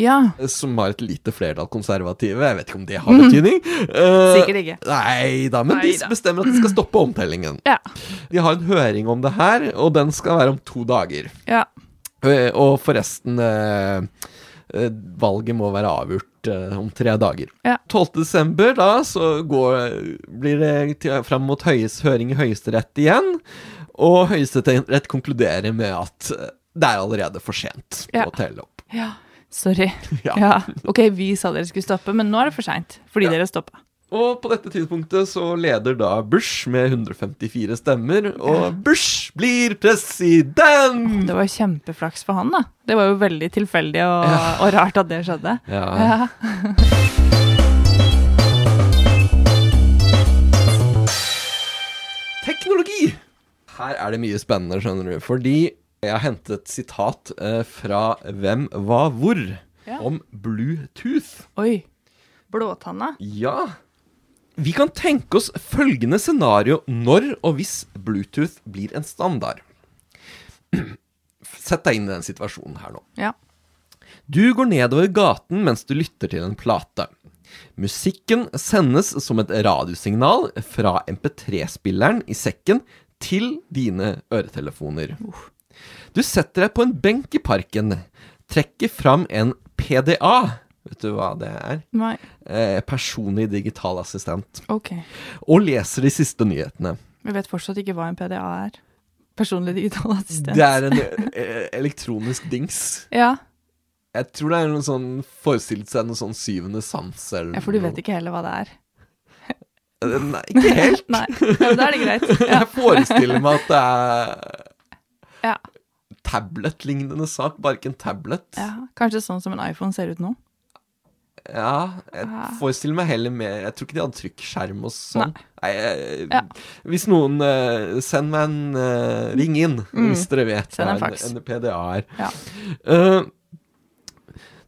S2: ja.
S1: som har et lite flertall konservative. Jeg vet ikke om det har betydning. Eh,
S2: Sikkert ikke.
S1: Nei da, men de
S2: Neida.
S1: bestemmer at de skal stoppe omtellingen.
S2: Ja.
S1: De har en høring om det her, og den skal være om to dager.
S2: ja.
S1: Eh, Og forresten eh, eh, Valget må være avgjort eh, om tre dager.
S2: Ja.
S1: 12. desember, da, så går, blir det til, fram mot høyes, høring i Høyesterett igjen. Og Høyesterett konkluderer med at eh, det er allerede for sent
S2: Ja.
S1: å telle opp. *laughs*
S2: Ja, sorry.
S1: Ja.
S2: Ja. Ok, vi sa dere skulle stoppe, men nå er det for seint. Fordi dere stoppa.
S1: Og på dette tidspunktet så leder da Bush med 154 stemmer, og Bush blir president!
S2: Det var kjempeflaks for han, da. Det var jo veldig tilfeldig og, *laughs* og rart at det skjedde.
S1: Ja. Teknologi! Her er det mye spennende, skjønner du. Fordi jeg har hentet sitat eh, fra Hvem, hva, hvor
S2: Ja.
S1: om Bluetooth.
S2: Oi. Blåtanna.
S1: Ja. Vi kan tenke oss følgende scenario når og hvis Bluetooth blir en standard. *clears throat* Sett deg inn i den situasjonen her nå.
S2: Ja.
S1: Du går nedover gaten mens du lytter til en plate. Musikken sendes som et radiosignal fra MP3-spilleren i sekken til dine øretelefoner. Du setter deg på en benk i parken, trekker fram en PDA Vet du hva det er?
S2: Nei.
S1: Eh, personlig digital assistent.
S2: Ok.
S1: Og leser de siste nyhetene.
S2: Vi vet fortsatt ikke hva en PDA er. Personlig digital assistent.
S1: Det er en eh, elektronisk dings.
S2: Ja.
S1: Jeg tror det er noen sånn forestilt seg noen sånn syvende sans eller
S2: ja, for du
S1: noe.
S2: vet ikke heller hva det er.
S1: Eh, Nei, ikke helt.
S2: *laughs* Nei, ja, men da er det
S1: *laughs*
S2: greit. Ja.
S1: Jeg forestiller meg at det er
S2: Ja.
S1: tablet-lignende sak, bare ikke en tablet.
S2: Ja. Kanskje sånn som en iPhone ser ut nå.
S1: Ja, jeg
S2: Ah.
S1: forestiller meg heller mer Jeg tror ikke de hadde trykkskjerm og sånn.
S2: Nei.
S1: Nei. jeg-
S2: Ja.
S1: Hvis noen eh, Send meg en eh, Ring inn hvis dere vet
S2: Mm. Send en
S1: hva
S2: fax.
S1: en PDA er.
S2: Ja.
S1: Eh,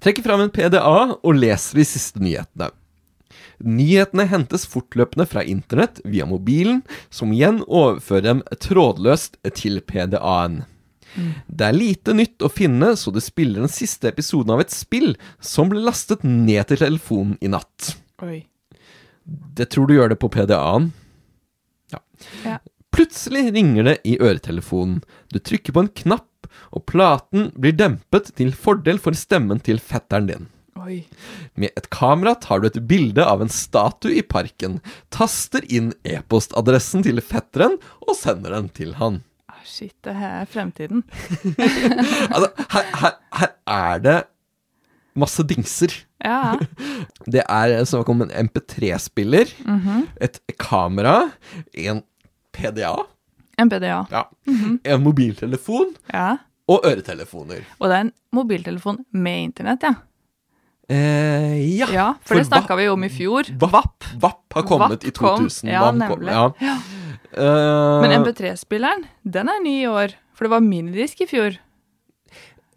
S1: trekker fram en PDA og leser de siste nyhetene. Nyhetene hentes fortløpende fra internett via mobilen, som igjen overfører dem trådløst til PDA-en.
S2: Mm.
S1: Det er lite nytt å finne, så du spiller den siste episoden av et spill som ble lastet ned til telefonen i natt.
S2: Oi.
S1: Det tror du gjør det på PDA-en. Ja.
S2: Ja.
S1: Plutselig ringer det i øretelefonen. Du trykker på en knapp, og platen blir dempet til fordel for stemmen til fetteren din.
S2: Oi.
S1: Med et kamera tar du et bilde av en statue i parken, taster inn e-postadressen til fetteren og sender den til han.
S2: Ah, Shit, det her er fremtiden.
S1: Altså, her, her, her er det masse dingser.
S2: Ja.
S1: Det er snakk om en MP3-spiller, et kamera, en PDA,
S2: En PDA. Mhm.
S1: en mobiltelefon
S2: Ja.
S1: og øretelefoner.
S2: Og det er en mobiltelefon med internett, ja.
S1: Eh, ja,
S2: Ja, for, det
S1: hva-
S2: snakka vi om i fjor.
S1: Vapp, Vapp har kommet
S2: Vapp
S1: i 2000.
S2: Kom. Ja,
S1: Vapp kom,
S2: nemlig.
S1: ja.
S2: Ja.
S1: Eh,
S2: Men MP3-spilleren, den er ny i år. For det var minidisk i fjor.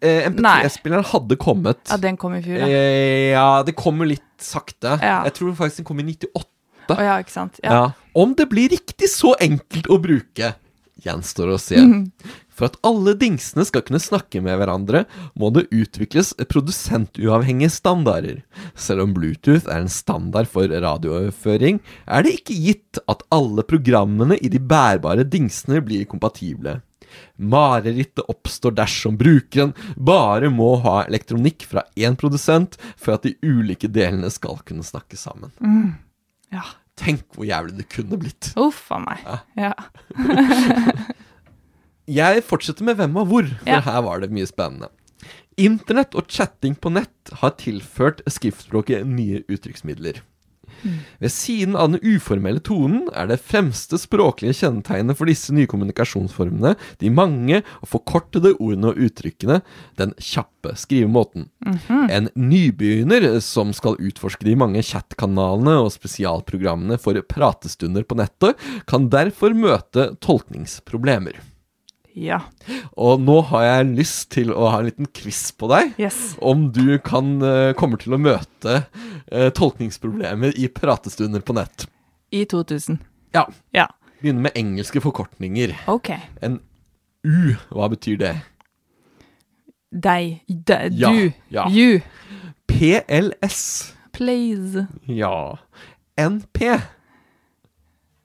S1: eh, MP3-spilleren hadde kommet.
S2: Ja, den kom i fjor, ja.
S1: Eh, ja, det kommer litt sakte.
S2: Ja.
S1: Jeg tror faktisk den kom i 98.
S2: Å ja, ikke sant.
S1: Ja.
S2: Ja.
S1: Om det blir riktig så enkelt å bruke, gjenstår å se. For at alle dingsene skal kunne snakke med hverandre, må det utvikles produsentuavhengige standarder. Selv om Bluetooth er en standard for radiooverføring, er det ikke gitt at alle programmene i de bærbare dingsene blir kompatible. Marerittet oppstår dersom brukeren bare må ha elektronikk fra én produsent for at de ulike delene skal kunne snakke sammen.
S2: ja.
S1: Tenk hvor jævlig det kunne blitt.
S2: Uff a meg. Ja.
S1: Jeg fortsetter med hvem og hvor, for
S2: Ja.
S1: her var det mye spennende. Internett og chatting på nett har tilført skriftspråket nye uttrykksmidler. Ved siden av den uformelle tonen er det fremste språklige kjennetegnet for disse nye kommunikasjonsformene de mange og forkortede ordene og uttrykkene, den kjappe skrivemåten. En nybegynner som skal utforske de mange chatkanalene og spesialprogrammene for pratestunder på nettet, kan derfor møte tolkningsproblemer.
S2: ja.
S1: Og nå har jeg lyst til å ha en liten quiz på deg.
S2: Yes.
S1: Om du kan, eh, kommer til å møte eh, tolkningsproblemer i pratestunder på nett.
S2: I 2000.
S1: Ja.
S2: Ja.
S1: Begynner med engelske forkortninger.
S2: Ok.
S1: En U, hva betyr det?
S2: Deg. De,
S1: Ja,
S2: du.
S1: ja.
S2: You.
S1: PLS.
S2: Please.
S1: Ja. NP.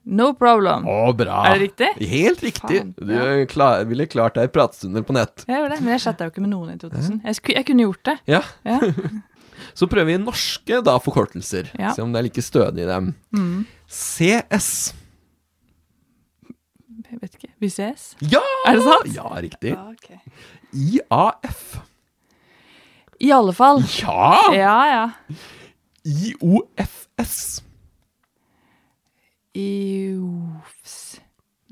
S2: No problem.
S1: Å, bra.
S2: Er det riktig?
S1: Helt riktig.
S2: Faen,
S1: Du
S2: ja.
S1: klar, ville klart deg i pratestunder på nett.
S2: Jeg gjør det, men jeg chatta jo ikke med noen i 2000. Jeg, sku, jeg kunne gjort det.
S1: Ja.
S2: Ja.
S1: *laughs* Så prøver vi norske da forkortelser.
S2: Ja. Mm.
S1: Se om det er like stødig i dem. CS.
S2: Jeg vet ikke. Vi ses.
S1: Ja!
S2: Er det sant?
S1: Ja, riktig.
S2: ok.
S1: IAF.
S2: I alle fall.
S1: Ja!
S2: Ja, ja.
S1: IOFS.
S2: Iofs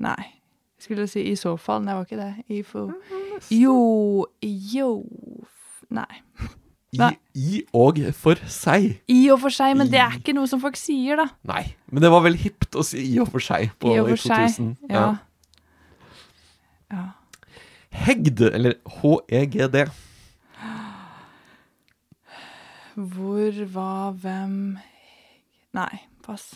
S2: Nei. Jeg skulle si i så fall, men det var ikke det. I for... mm. Jo Jo Nei.
S1: I,
S2: Nei.
S1: I og for seg.
S2: I og for seg, men det er ikke noe som folk sier, da.
S1: Nei, men det var vel hipt å si i og for seg på
S2: I og
S1: i
S2: for seg.
S1: 2000.
S2: Ja.
S1: Hegd, eller E HEGD.
S2: Hvor, hva, hvem Nei, pass.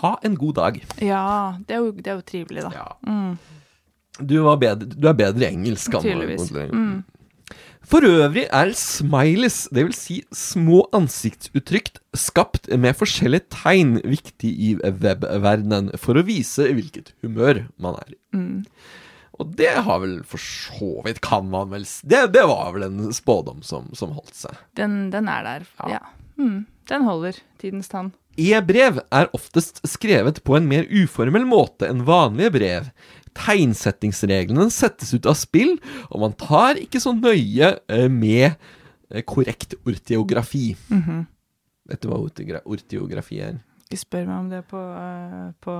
S1: Ha en god dag.
S2: Ja, det er jo, det er jo trivelig, da. Mm.
S1: Ja. Du, var bedre, du er bedre i engelsk. Anna.
S2: Tydeligvis. Mm.
S1: For øvrig er smileys, dvs. Si små ansiktsuttrykk skapt med forskjellige tegn, viktig i webverdenen for å vise hvilket humør man er i.
S2: Mm.
S1: Og det har vel for så vidt kan man vel s- Det, det var vel en spådom som, som holdt seg.
S2: Den, den er der. Ja. Mm. Den holder. Tidens tann.
S1: E-brev er oftest skrevet på en mer uformell måte enn vanlige brev. Tegnsettingsreglene settes ut av spill, og man tar ikke så nøye eh, med eh, korrekt orteografi. Vet du hva ortegra orteografi er?
S2: Ikke spør meg om det på, eh, på,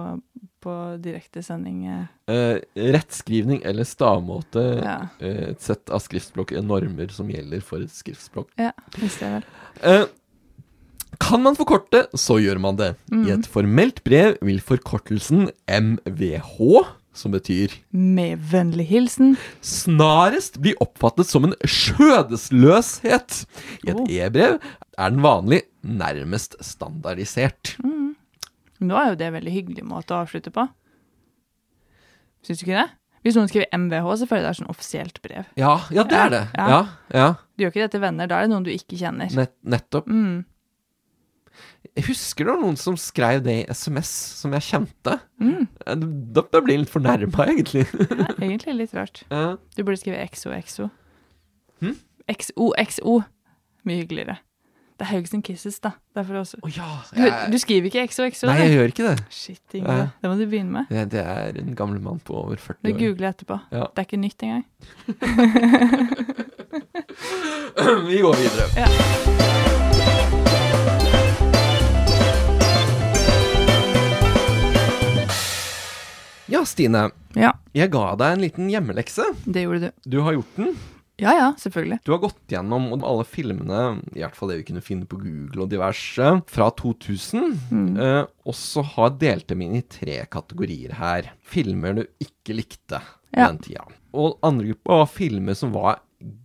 S2: på direktesending.
S1: Eh, rettskrivning eller stavmåte,
S2: Ja.
S1: eh, et sett av skriftspråk, eh, normer som gjelder for et skriftspråk.
S2: Ja, visste jeg vel.
S1: Eh, Kan man forkorte, så gjør man det. I et formelt brev vil forkortelsen MVH, som betyr
S2: Med vennlig hilsen
S1: snarest bli oppfattet som en skjødesløshet. I et
S2: Oh.
S1: e-brev er den vanlig nærmest standardisert.
S2: Nå er jo det en veldig hyggelig måte å avslutte på. Syns du ikke det? Hvis noen skriver MVH, så føler jeg det er sånn offisielt brev.
S1: Ja, ja det er det.
S2: Ja.
S1: Ja, ja.
S2: Du gjør ikke det til venner, da er det noen du ikke kjenner.
S1: Nett, nettopp.
S2: Mm.
S1: Jeg husker det var noen som skrev det i SMS, som jeg kjente.
S2: Mm.
S1: Eh, Da, da ble jeg litt fornærma, egentlig.
S2: Det er egentlig litt rart.
S1: Ja.
S2: Du burde skrive XOXO.
S1: Hm?
S2: XOXO. Mye hyggeligere. Det er Haugesund Kisses, da. Det er for oss.
S1: Å ja.
S2: Du,
S1: Jeg,
S2: du skriver ikke XOXO?
S1: nei,
S2: du?
S1: jeg gjør ikke det.
S2: Shit, Ingrid. Det må du begynne med.
S1: Det, det er en gammel mann på over 40
S2: Du
S1: år.
S2: googler etterpå.
S1: Ja.
S2: Det er ikke nytt engang.
S1: *clears throat* Vi går videre. Ja, Stine.
S2: Ja,
S1: Jeg ga deg en liten hjemmelekse.
S2: det gjorde du.
S1: Du har gjort den.
S2: Ja ja, selvfølgelig.
S1: Du har gått gjennom alle filmene, i hvert fall det vi kunne finne på Google og diverse, fra 2000. Eh, og så har jeg delt dem inn i tre kategorier her. Filmer du ikke likte på
S2: Ja.
S1: den tida. Og andre gruppa var filmer som var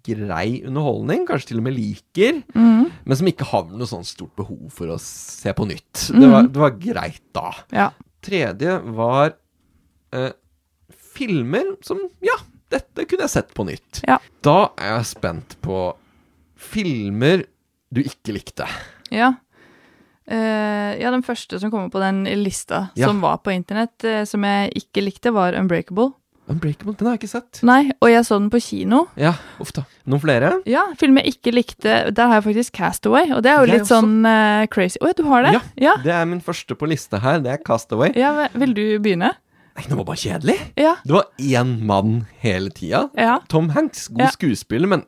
S1: grei underholdning, kanskje til og med liker, men som ikke har noe sånn stort behov for å se på nytt. Det, var, det var greit da.
S2: Ja.
S1: Tredje var eh, filmer som Ja, dette kunne jeg sett på nytt.
S2: Ja.
S1: Da er jeg spent på filmer du ikke likte.
S2: Ja. Eh, ja, den første som kommer på den lista
S1: Ja.
S2: som var på internett, eh, som jeg ikke likte, var Unbreakable.
S1: Unbreakable, den har jeg ikke sett.
S2: Nei, og jeg så den på kino.
S1: Ja, uff da. Noen flere?
S2: Ja, film jeg ikke likte, der har jeg faktisk Castaway, og det er jo
S1: Jeg
S2: litt sånn eh, crazy. Å ja, du har det?
S1: Ja. Det er min første på lista her. Det er Castaway.
S2: Ja, ve- Vil du begynne?
S1: Nei, det var bare kjedelig.
S2: Ja.
S1: Det var én mann hele tida.
S2: Ja.
S1: Tom Hanks, god
S2: Ja.
S1: skuespiller, men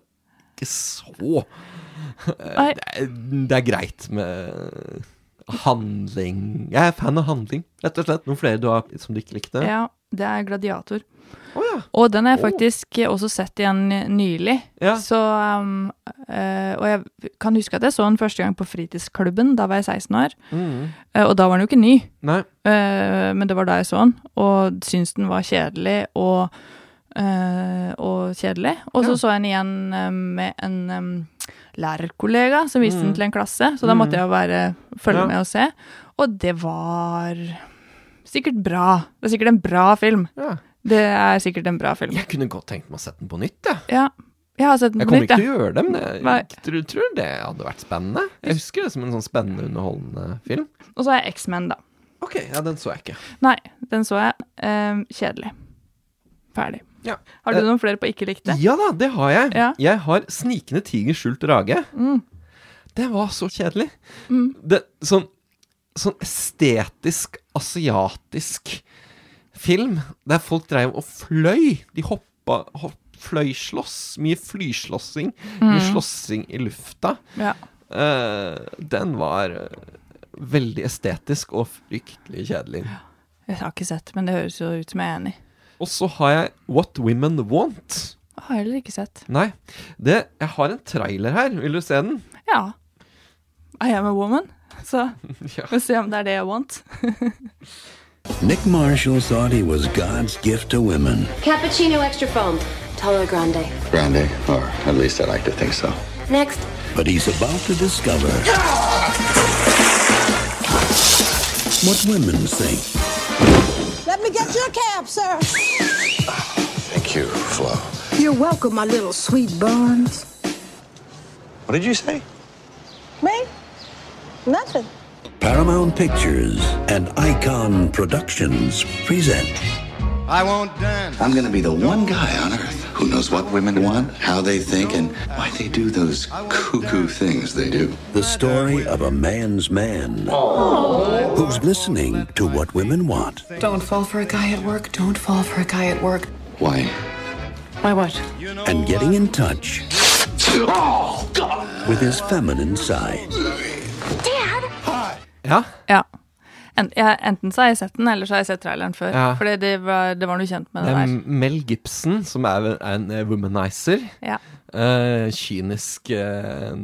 S1: ikke så
S2: Nei,
S1: det er, det er greit med handling. Jeg er fan av handling, rett og slett. Noen flere du har som du ikke likte?
S2: ja, det er Gladiator.
S1: Å ja.
S2: Og den har jeg
S1: Å.
S2: faktisk også sett igjen nylig.
S1: Ja.
S2: Så, um, eh, og jeg kan huske at jeg så den første gang på fritidsklubben, da var jeg 16 år.
S1: Mm.
S2: Eh, og da var den jo ikke ny,
S1: Nei.
S2: eh, men det var da jeg så den, og syntes den var kjedelig og, eh, og kjedelig. Og så
S1: Ja.
S2: så jeg den igjen eh, med en em, lærerkollega som viste den til en klasse, så da måtte jeg jo bare følge
S1: Mm. Ja.
S2: med og se. Og det var sikkert bra. Det er sikkert en bra film.
S1: Ja.
S2: Det er sikkert en bra film.
S1: Jeg kunne godt tenkt meg å sette den på nytt, jeg.
S2: Ja. Jeg har sett den
S1: Jeg
S2: på
S1: kommer
S2: nytt,
S1: ikke
S2: jeg.
S1: til å gjøre det, men jeg
S2: Nei.
S1: tror, tror det hadde vært spennende. Jeg husker det som en sånn spennende, underholdende film.
S2: Og så har jeg X-Men, da.
S1: Ok, ja, den så jeg ikke.
S2: Nei, den så jeg. Ehm, kjedelig. Ferdig.
S1: Ja.
S2: Har du
S1: Eh,
S2: noen flere på ikke likte?
S1: Ja da, det har jeg.
S2: Ja.
S1: Jeg har 'Snikende tiger skjult rage'. Det var så kjedelig. Det, sånn, sånn estetisk, asiatisk film der folk dreiv og fløy. De hoppa, hopp, fløyslåss. Mye flyslåssing. Mye slåssing i lufta.
S2: Ja.
S1: Eh, den var eh, veldig estetisk og fryktelig kjedelig.
S2: Jeg har ikke sett, men det høres jo ut som jeg er enig.
S1: Og så har jeg What Women Want.
S2: Jeg har heller ikke sett.
S1: Nei, det, jeg har en trailer her. Vil du se den?
S2: Ja. I am a woman. Så
S1: Ja.
S2: vi får se om det er det jeg want.
S5: Nick Marshall thought he was God's gift to women.
S6: Cappuccino extra foam. Tolo grande.
S7: Grande, or at least I like to think so.
S6: Next.
S5: But he's about to discover what women think
S8: Let me get your cab, sir.
S7: Thank you, Flo.
S8: You're welcome, my little sweet buns.
S7: What did you say?
S8: Me? Nothing.
S5: Paramount Pictures and Icon Productions present
S7: I'm gonna be the one guy on earth who knows what women want, how they think, and why they do those cuckoo things they do.
S5: the story of a man's man who's listening to what women want.
S9: Don't fall for a guy at work. Don't fall for a guy at work.
S7: Why?
S9: Why what?
S5: and getting in touch with his feminine side.
S1: Ja.
S2: Ja. En, jeg, enten så har jeg sett den, eller så har jeg sett traileren før.
S1: Ja.
S2: Fordi det var, det var noe kjent med
S1: Det
S2: det
S1: er
S2: der.
S1: Mel Gibson, som er en eh, womanizer.
S2: Ja.
S1: eh, kynisk eh,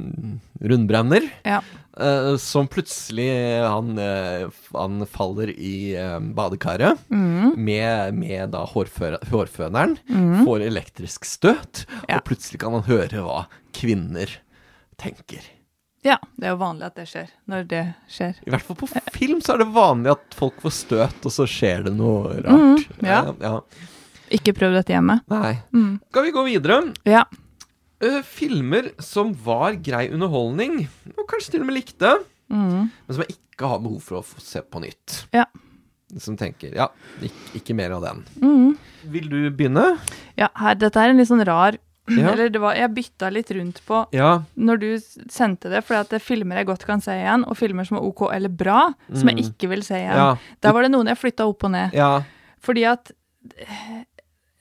S1: rundbrenner.
S2: ja.
S1: eh, som plutselig eh, han, eh, f- han faller i eh, badekaret med, med da hårfø hårføneren, får elektrisk støt,
S2: Ja.
S1: og plutselig kan han høre hva kvinner tenker.
S2: ja. Det er jo vanlig at det skjer. Når det skjer.
S1: I hvert fall på film så er det vanlig at folk får støt, og så skjer det noe rart.
S2: ja.
S1: Eh, ja.
S2: Ikke prøv dette hjemme.
S1: Nei. Skal vi gå videre?
S2: Ja.
S1: Eh, filmer som var grei underholdning, og kanskje til og med likte, men som jeg ikke har behov for å få se på nytt.
S2: Mm. Ja.
S1: Som tenker ja, ikke, ikke mer av den.
S2: Mm.
S1: Vil du begynne?
S2: ja her, dette er en litt sånn rar
S1: Ja.
S2: Eller det var, jeg bytta litt rundt på
S1: Ja.
S2: når du s- sendte det, fordi at det er filmer jeg godt kan se igjen, og filmer som er OK eller bra, som jeg ikke vil se igjen.
S1: Mm. Ja.
S2: Der var det noen jeg flytta opp og ned.
S1: Ja.
S2: Fordi at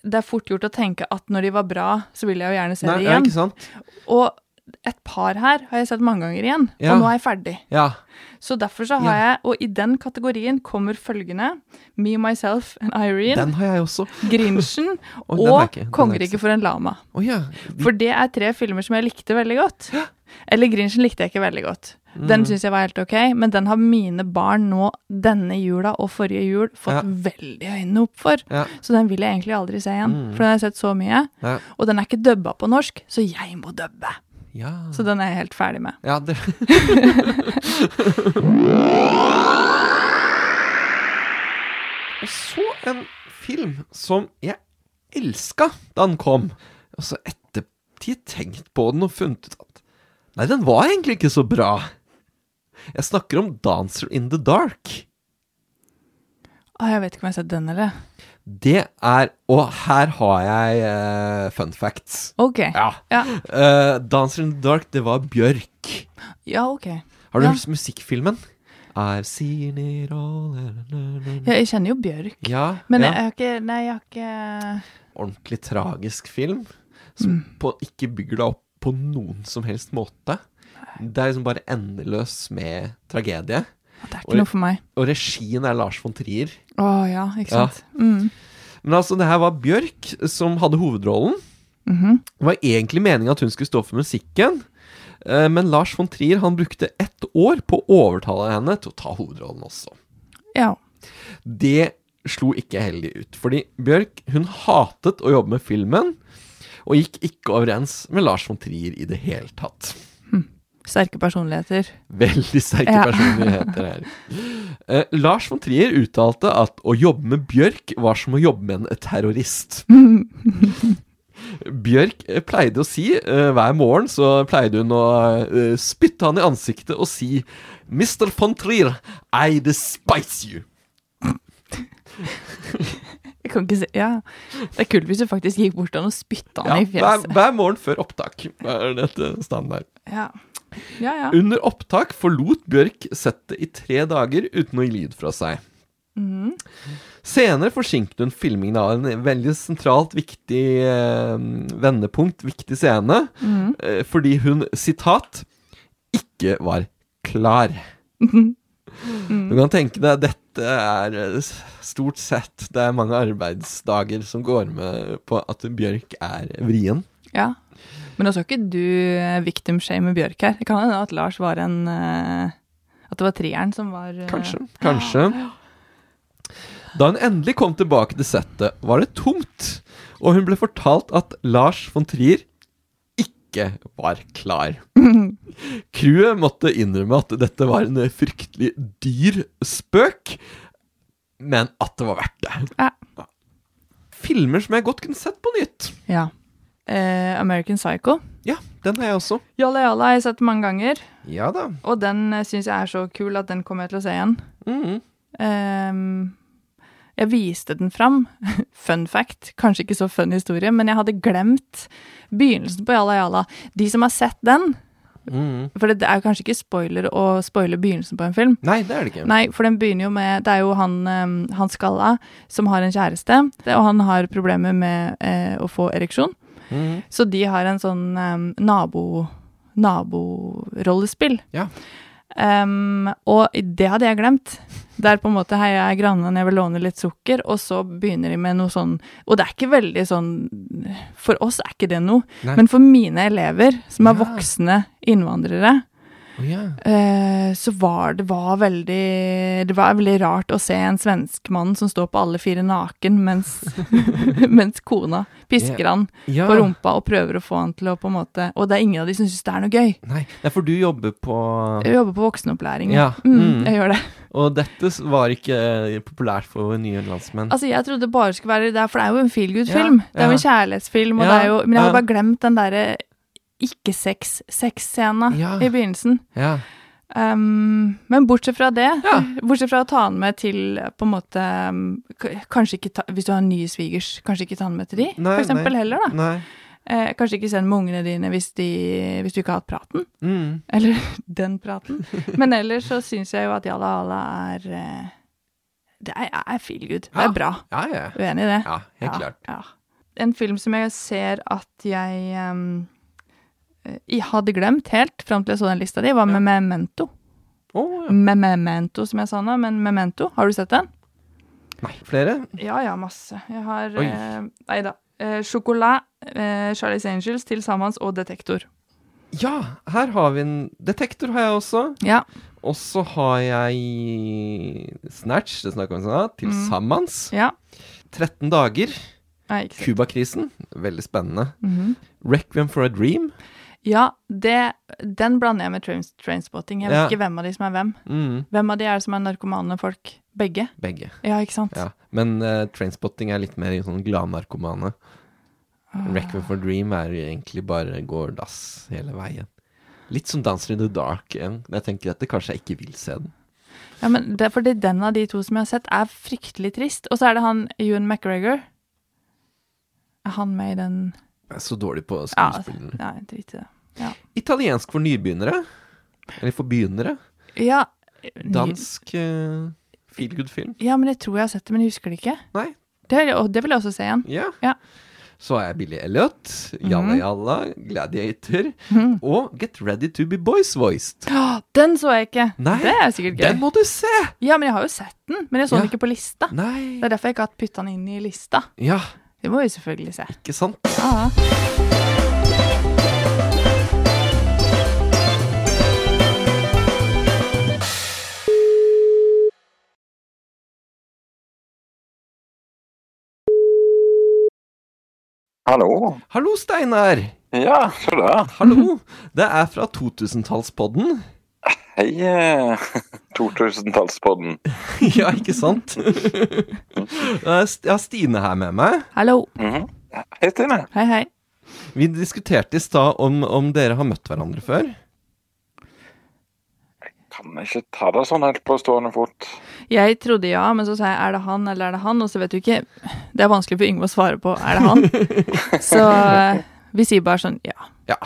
S2: det er fort gjort å tenke at når de var bra, så vil jeg jo gjerne se
S1: Nei,
S2: det
S1: ja,
S2: igjen.
S1: ikke sant?
S2: Og et par her har jeg sett mange ganger igjen,
S1: Ja.
S2: og nå er jeg ferdig.
S1: Ja.
S2: Så derfor så har
S1: Ja.
S2: jeg, og i den kategorien kommer følgende Me, Myself and Irene,
S1: Den har jeg også. *laughs*
S2: Grinchen
S1: Oi, den har jeg ikke-
S2: og
S1: den har jeg ikke
S2: Kongeriket
S1: sett.
S2: for en lama.
S1: Å ja.
S2: For det er tre filmer som jeg likte veldig godt. Eller Grinchen likte jeg ikke veldig godt.
S1: Mm.
S2: Den syns jeg var helt ok, men den har mine barn nå denne jula og forrige jul fått
S1: Ja.
S2: veldig øynene opp for.
S1: Ja. Mm.
S2: Så den vil jeg egentlig aldri se igjen, for den har jeg sett så mye.
S1: Ja.
S2: Og den er ikke dubba på norsk, så jeg må dubbe.
S1: Ja.
S2: Så den er jeg helt ferdig med.
S1: ja det. Og så en film som jeg elska da den kom. Og så ettertid tenkt på den og funnet ut at Nei, den var egentlig ikke så bra. Jeg snakker om Dancer in the Dark.
S2: Å, jeg vet ikke om jeg har sett den eller
S1: Det er Og her har jeg eh, fun facts.
S2: Ok.
S1: Ja.
S2: Ja,
S1: Eh, Dancer in the Dark, det var Bjørk.
S2: ja ok.
S1: Har du
S2: Ja.
S1: hørt musikkfilmen? I've seen it all na, na, na, na.
S2: Ja, jeg kjenner jo Bjørk.
S1: Ja,
S2: Men
S1: Mm. ja.
S2: jeg har ikke Nei, jeg har ikke
S1: ordentlig tragisk film. Som
S2: Mm.
S1: på, ikke bygger deg opp på noen som helst måte. Det er liksom bare endeløs med tragedie.
S2: Det er
S1: Oi.
S2: ikke noe for meg.
S1: Og regien er Lars von Trier.
S2: Å ja, ikke
S1: Ja.
S2: sant. Mm.
S1: Men altså, det her var Bjørk som hadde hovedrollen.
S2: Mm-hmm.
S1: Det var egentlig meninga at hun skulle stå for musikken. eh, Men Lars von Trier han brukte ett år på å overtale henne til å ta hovedrollen også.
S2: Ja.
S1: Det slo ikke heldig ut, fordi Bjørk hun hatet å jobbe med filmen, og gikk ikke overens med Lars von Trier i det hele tatt.
S2: Sterke personligheter.
S1: Veldig sterke
S2: Ja.
S1: personligheter her. Eh, Lars von Trier uttalte at å jobbe med Bjørk var som å jobbe med en terrorist. Bjørk eh, pleide å si eh, hver morgen så pleide hun å eh, spytte han i ansiktet og si Mr. von Trier, I despise you.
S2: Jeg kan ikke se Ja. Det er kult hvis du faktisk gikk bort til han og spytta
S1: Ja,
S2: han i
S1: hver,
S2: fjeset.
S1: hver morgen før opptak er dette standard.
S2: Ja. ja, ja.
S1: Under
S2: Mhm.
S1: opptak forlot Bjørk settet i tre dager uten å gi lyd fra seg. Senere forsinket hun filmingen av en veldig sentralt viktig eh, vendepunkt, viktig scene,
S2: Mhm.
S1: eh, fordi hun, sitat, ikke var klar.
S2: Mhm.
S1: Du kan tenke deg, dette er eh, s- stort sett Det er mange arbeidsdager som går med på at Bjørk er vrien.
S2: Ja. Men nå skal ikke du eh, victim shame Bjørk her. Det kan hende at Lars var en eh, At det var treeren som var eh,
S1: Kanskje. Kanskje. Da hun endelig kom tilbake til settet, var det tomt, og hun ble fortalt at Lars von Trier ikke var
S2: *laughs*
S1: klar. Crewet måtte innrømme at dette var en fryktelig dyr spøk, men at det var verdt det.
S2: Ja.
S1: Filmer som jeg godt kunne sett på nytt.
S2: Ja. Eh, American Psycho.
S1: Ja, den har jeg også.
S2: Jalla Jalla har jeg sett mange ganger,
S1: Ja da.
S2: og den syns jeg er så kul at den kommer jeg til å se igjen.
S1: Mhm.
S2: Ehm, jeg viste den fram. *laughs* Fun fact, kanskje ikke så fun historie, men jeg hadde glemt begynnelsen på Jalla Jalla. De som har sett den For det er jo kanskje ikke spoiler å spoile begynnelsen på en film.
S1: Nei, det er det ikke.
S2: Nei, for den begynner jo med Det er jo han, eh, han Skalla som har en kjæreste, det- og han har problemer med eh, å få ereksjon.
S1: Mhm.
S2: Så de har en sånn eh, nabo naborollespill.
S1: Ja.
S2: Em, og det hadde jeg glemt. Der på en måte Hei, jeg er grannen, jeg vil låne litt sukker, og så begynner de med noe sånn Og det er ikke veldig sånn For oss er ikke det noe.
S1: Nei.
S2: Men for mine elever, som er
S1: Ja.
S2: voksne innvandrere,
S1: Å, ja.
S2: Eh, så var det var veldig Det var veldig rart å se en svensk mann som står på alle fire naken mens, *laughs* mens kona pisker han
S1: Ja.
S2: på rumpa og prøver å få han til å på en måte Og det er ingen av de som syns det er noe gøy.
S1: Nei, det er for du jobber på
S2: Jeg jobber på voksenopplæring.
S1: Ja, mm.
S2: Mm, jeg gjør det.
S1: Og dette s- var ikke eh, populært for nye landsmenn.
S2: Altså, jeg trodde det bare skulle være det, for det er jo en feelgood-film.
S1: Ja,
S2: Det er jo en
S1: ja.
S2: kjærlighetsfilm, og
S1: Ja,
S2: det er jo Men jeg
S1: ja.
S2: hadde bare glemt den derre ikke-sex-sex-scena
S1: Ja.
S2: i begynnelsen.
S1: Ja.
S2: Um, men bortsett fra det,
S1: Ja.
S2: bortsett fra å ta den med til eh, på en måte um, k- Kanskje ikke ta, hvis du har nye svigers, kanskje ikke ta den med til de,
S1: Nei,
S2: for
S1: nei.
S2: eksempel,
S1: Mm.
S2: heller, da.
S1: Nei.
S2: Eh, kanskje ikke send med ungene dine hvis, de, hvis du ikke har hatt praten.
S1: Mm.
S2: Eller *laughs* den praten. Men ellers så syns jeg jo at Jalla Ala er eh, Det er, er feel good. Det
S1: Ja.
S2: er bra.
S1: Ja, ja.
S2: Uenig i det?
S1: Ja, helt klart.
S2: Ja. En film som jeg ser at jeg um, eh, jeg hadde glemt helt fram til jeg så den lista di, var med Memento.
S1: Å, ja.
S2: Me- Memento, som jeg sa nå, men Memento, har du sett den?
S1: Nei, flere?
S2: Ja, ja, masse. Jeg har
S1: Oi.
S2: eh, Nei da. Eh, Chocolat, eh, Charlies Angels, Til sammens og Detektor.
S1: Ja, her har vi en detektor, har jeg også.
S2: Ja.
S1: Og så har jeg Snatch, det snakker vi om sånn, til sammens.
S2: ja.
S1: 13 dager.
S2: Nei, ikke sant.
S1: Cuba-krisen, veldig spennende. Requiem for a Dream.
S2: Ja, det, den blander jeg med trains, Trainspotting. Jeg vet
S1: Ja.
S2: ikke hvem av de som er hvem.
S1: Mm,
S2: Hvem av de er det som er narkomane folk? Begge?
S1: begge.
S2: Ja, ikke sant?
S1: Ja. Men eh, Trainspotting er litt mer i sånn gladnarkomane.
S2: Ah.
S1: Requiem for a Dream er egentlig bare går dass hele veien. Litt som Danser in the Dark. eh. Jeg tenker at det kanskje jeg ikke vil se den.
S2: Ja, men det er fordi den av de to som jeg har sett, er fryktelig trist. Og så er det han Ewan McGregor. Er han med i den
S1: Jeg er så dårlig på
S2: Ja,
S1: skuespillene.
S2: nei, drit i det.
S1: Italiensk for nybegynnere. Eller for begynnere.
S2: Ja,
S1: Dansk uh, feel good-film.
S2: Ja, men jeg tror jeg har sett det, men jeg husker det ikke.
S1: Nei.
S2: Det, og det vil jeg også se igjen.
S1: Ja.
S2: Ja. Mhm.
S1: Så er Billy Elliot, Jalla Jalla, Gladiator og Get Ready To Be Boys Voiced.
S2: Å, Den så jeg ikke!
S1: Nei,
S2: det er sikkert gøy.
S1: Den må du se!
S2: Ja, men jeg har jo sett den, men jeg så
S1: Ja.
S2: den ikke på lista.
S1: Nei
S2: Det er derfor jeg ikke har putta den inn i lista.
S1: Ja,
S2: Det må vi selvfølgelig se.
S1: ikke sant?
S2: Ja.
S10: Hallo?
S1: Hallo, Steinar!
S10: Ja, så da.
S1: Hallo! Det er fra 2000-tallspodden.
S10: Hei, eh, 2000-tallspodden.
S1: *laughs* ja, ikke
S10: *laughs*
S1: sant? Eh, St- Jeg har Stine her med meg.
S2: Hallo.
S10: Mhm. Hei, Stine.
S2: Hei, hei.
S1: Vi diskuterte i stad om, om dere har møtt hverandre før.
S10: Kan jeg ikke ta det sånn helt på stående fot?
S2: Jeg trodde ja, men så sa jeg er det han eller er det han, og så vet du ikke Det er vanskelig for Yngve å svare på er det han.
S10: *laughs*
S2: Så eh, vi sier bare sånn ja.
S1: Ja.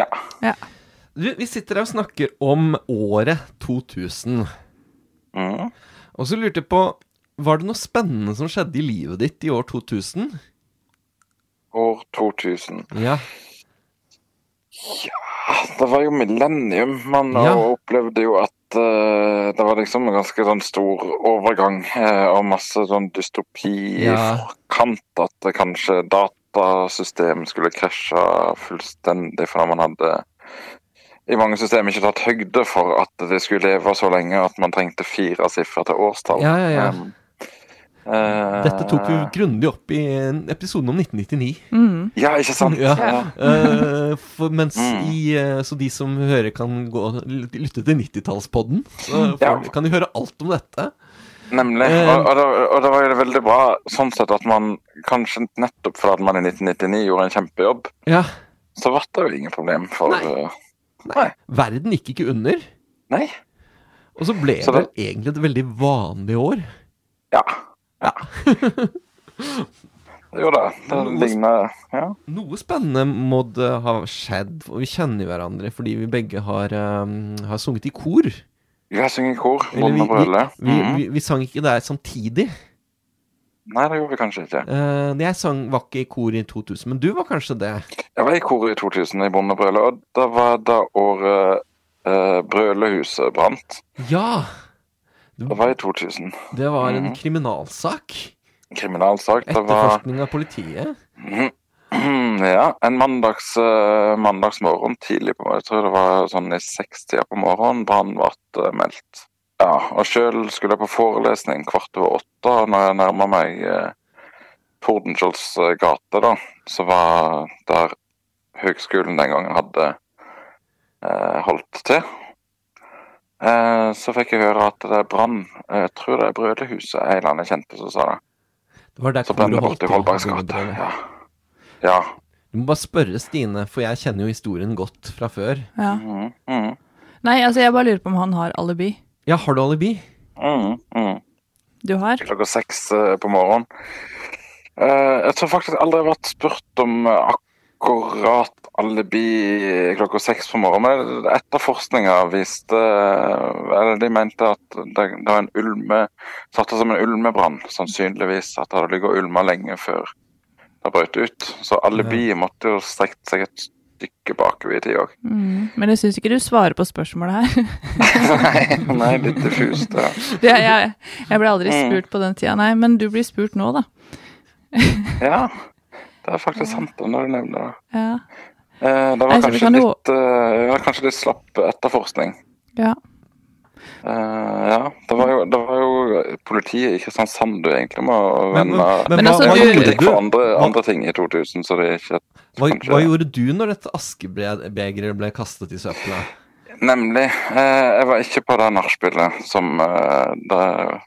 S10: Ja.
S2: Ja.
S1: Du, vi sitter her og snakker om året 2000.
S10: Mhm.
S1: Og så lurte jeg på Var det noe spennende som skjedde i livet ditt i år 2000?
S10: År 2000.
S1: Ja.
S10: Det var jo millennium. Man
S1: Ja.
S10: opplevde jo at eh, det var liksom en ganske sånn stor overgang eh, og masse sånn dystopi i
S1: Ja.
S10: forkant. At det kanskje datasystemet skulle krasje fullstendig fordi man hadde i mange systemer ikke tatt høyde for at det skulle leve så lenge at man trengte fire siffer til årstall.
S1: Ja, ja, ja.
S10: Um, eh,
S1: Dette tok vi grundig opp i en episode om 1999.
S2: Mm.
S10: Ja, ikke sant?
S1: Ja.
S10: Ja.
S1: Eh, for, mens
S10: Mm.
S1: i, eh, så de som hører, kan gå, lytte til 90-tallspodden. Så får-
S10: Ja.
S1: kan de høre alt om dette.
S10: Nemlig.
S1: Eh,
S10: Og, og, da, og da var jo det veldig bra sånn sett at man kanskje nettopp fordi at man i 1999 gjorde en kjempejobb,
S1: Ja.
S10: så ble det jo ingen problem for
S1: Nei.
S10: eh,
S1: Verden gikk ikke under.
S10: Nei.
S1: Og så ble
S10: Så
S1: det vel egentlig et veldig vanlig år.
S10: Ja.
S1: *laughs*
S10: Jo da, det ligner Ja.
S1: Noe spennende må det ha skjedd, og vi kjenner jo hverandre fordi vi begge har, eh, har sunget i kor.
S10: Jeg synger i kor.
S1: Eller
S10: Bonde
S1: vi,
S10: og brøle.
S1: vi, vi,
S10: Mhm.
S1: vi, vi sang ikke der samtidig.
S10: Nei, det gjorde vi kanskje ikke.
S1: Eh, jeg sang var ikke i kor i 2000, men du var kanskje det?
S10: Jeg var i kor i 2000 i Bonde og brøle, og da var da året eh, Brølehuset brant.
S1: Ja!
S10: Det var i 2000.
S1: Det var en
S10: Mhm.
S1: kriminalsak.
S10: Kriminalsak. Det var
S1: Etterforskning av politiet.
S10: Mm, Ja, en mandags, eh, mandagsmorgen tidlig på morgenen, jeg tror det var sånn i sekstida på morgenen, brann ble eh, meldt. Ja, og sjøl skulle jeg på forelesning kvart over åtte, og når jeg nærma meg eh, Tordenskiolds eh, gate, da, så var der høgskolen den gangen hadde eh, holdt til. Eh, så fikk jeg høre at det brann, eh, jeg tror det er Brødrehuset, en eller annen kjente som sa det.
S1: Det var der
S10: Så brann
S1: koret
S10: det borte i Holbergs gate.
S1: Holbergsgata.
S10: Ja. ja.
S1: Du må bare spørre Stine, for jeg kjenner jo historien godt fra før.
S2: Ja.
S10: Mhm, mhm.
S2: Nei, altså, jeg bare lurer på om han har alibi.
S1: Ja, har du alibi?
S10: Mm, mm.
S2: Du har?
S10: Klokka seks eh, på morgenen. Eh, jeg tror faktisk aldri jeg har vært spurt om eh, akkurat alibi klokka seks på morgenen. Men etterforskninga viste eh, Eller de mente at det, det var en ulme Satte som en ulmebrann, sannsynligvis. At det hadde ligget og ulma lenge før det brøt ut. Så alibi måtte jo strekt seg et stykke bakover i tid òg.
S2: Mm. Men jeg syns ikke du svarer på spørsmålet her.
S10: nei, nei, litt diffust. Ja.
S2: *laughs* Det, jeg, jeg ble aldri
S10: Mm.
S2: spurt på den tida, nei. Men du blir spurt nå, da.
S10: ja. Det er faktisk sant, da, når du nevner det.
S2: Ja.
S10: Eh, Det
S2: Nei,
S10: var
S2: så Altså, vi
S10: kanskje
S2: kan jo-
S10: litt, eh, det var kanskje litt slapp etterforskning.
S2: ja.
S10: Eh, ja, det var, jo, det var jo politiet i Kristiansand du egentlig må
S1: Men- eh,
S10: vende
S1: men-
S2: Men altså,
S10: Det var
S2: du-
S10: kritikk for andre,
S1: Hva-
S10: andre ting i 2000, så det er ikke
S1: Hva,
S10: Kanskje.
S1: hva gjorde du når dette askebegeret ble kastet i søpla?
S10: Nemlig. eh, jeg var ikke på det nachspielet som eh, det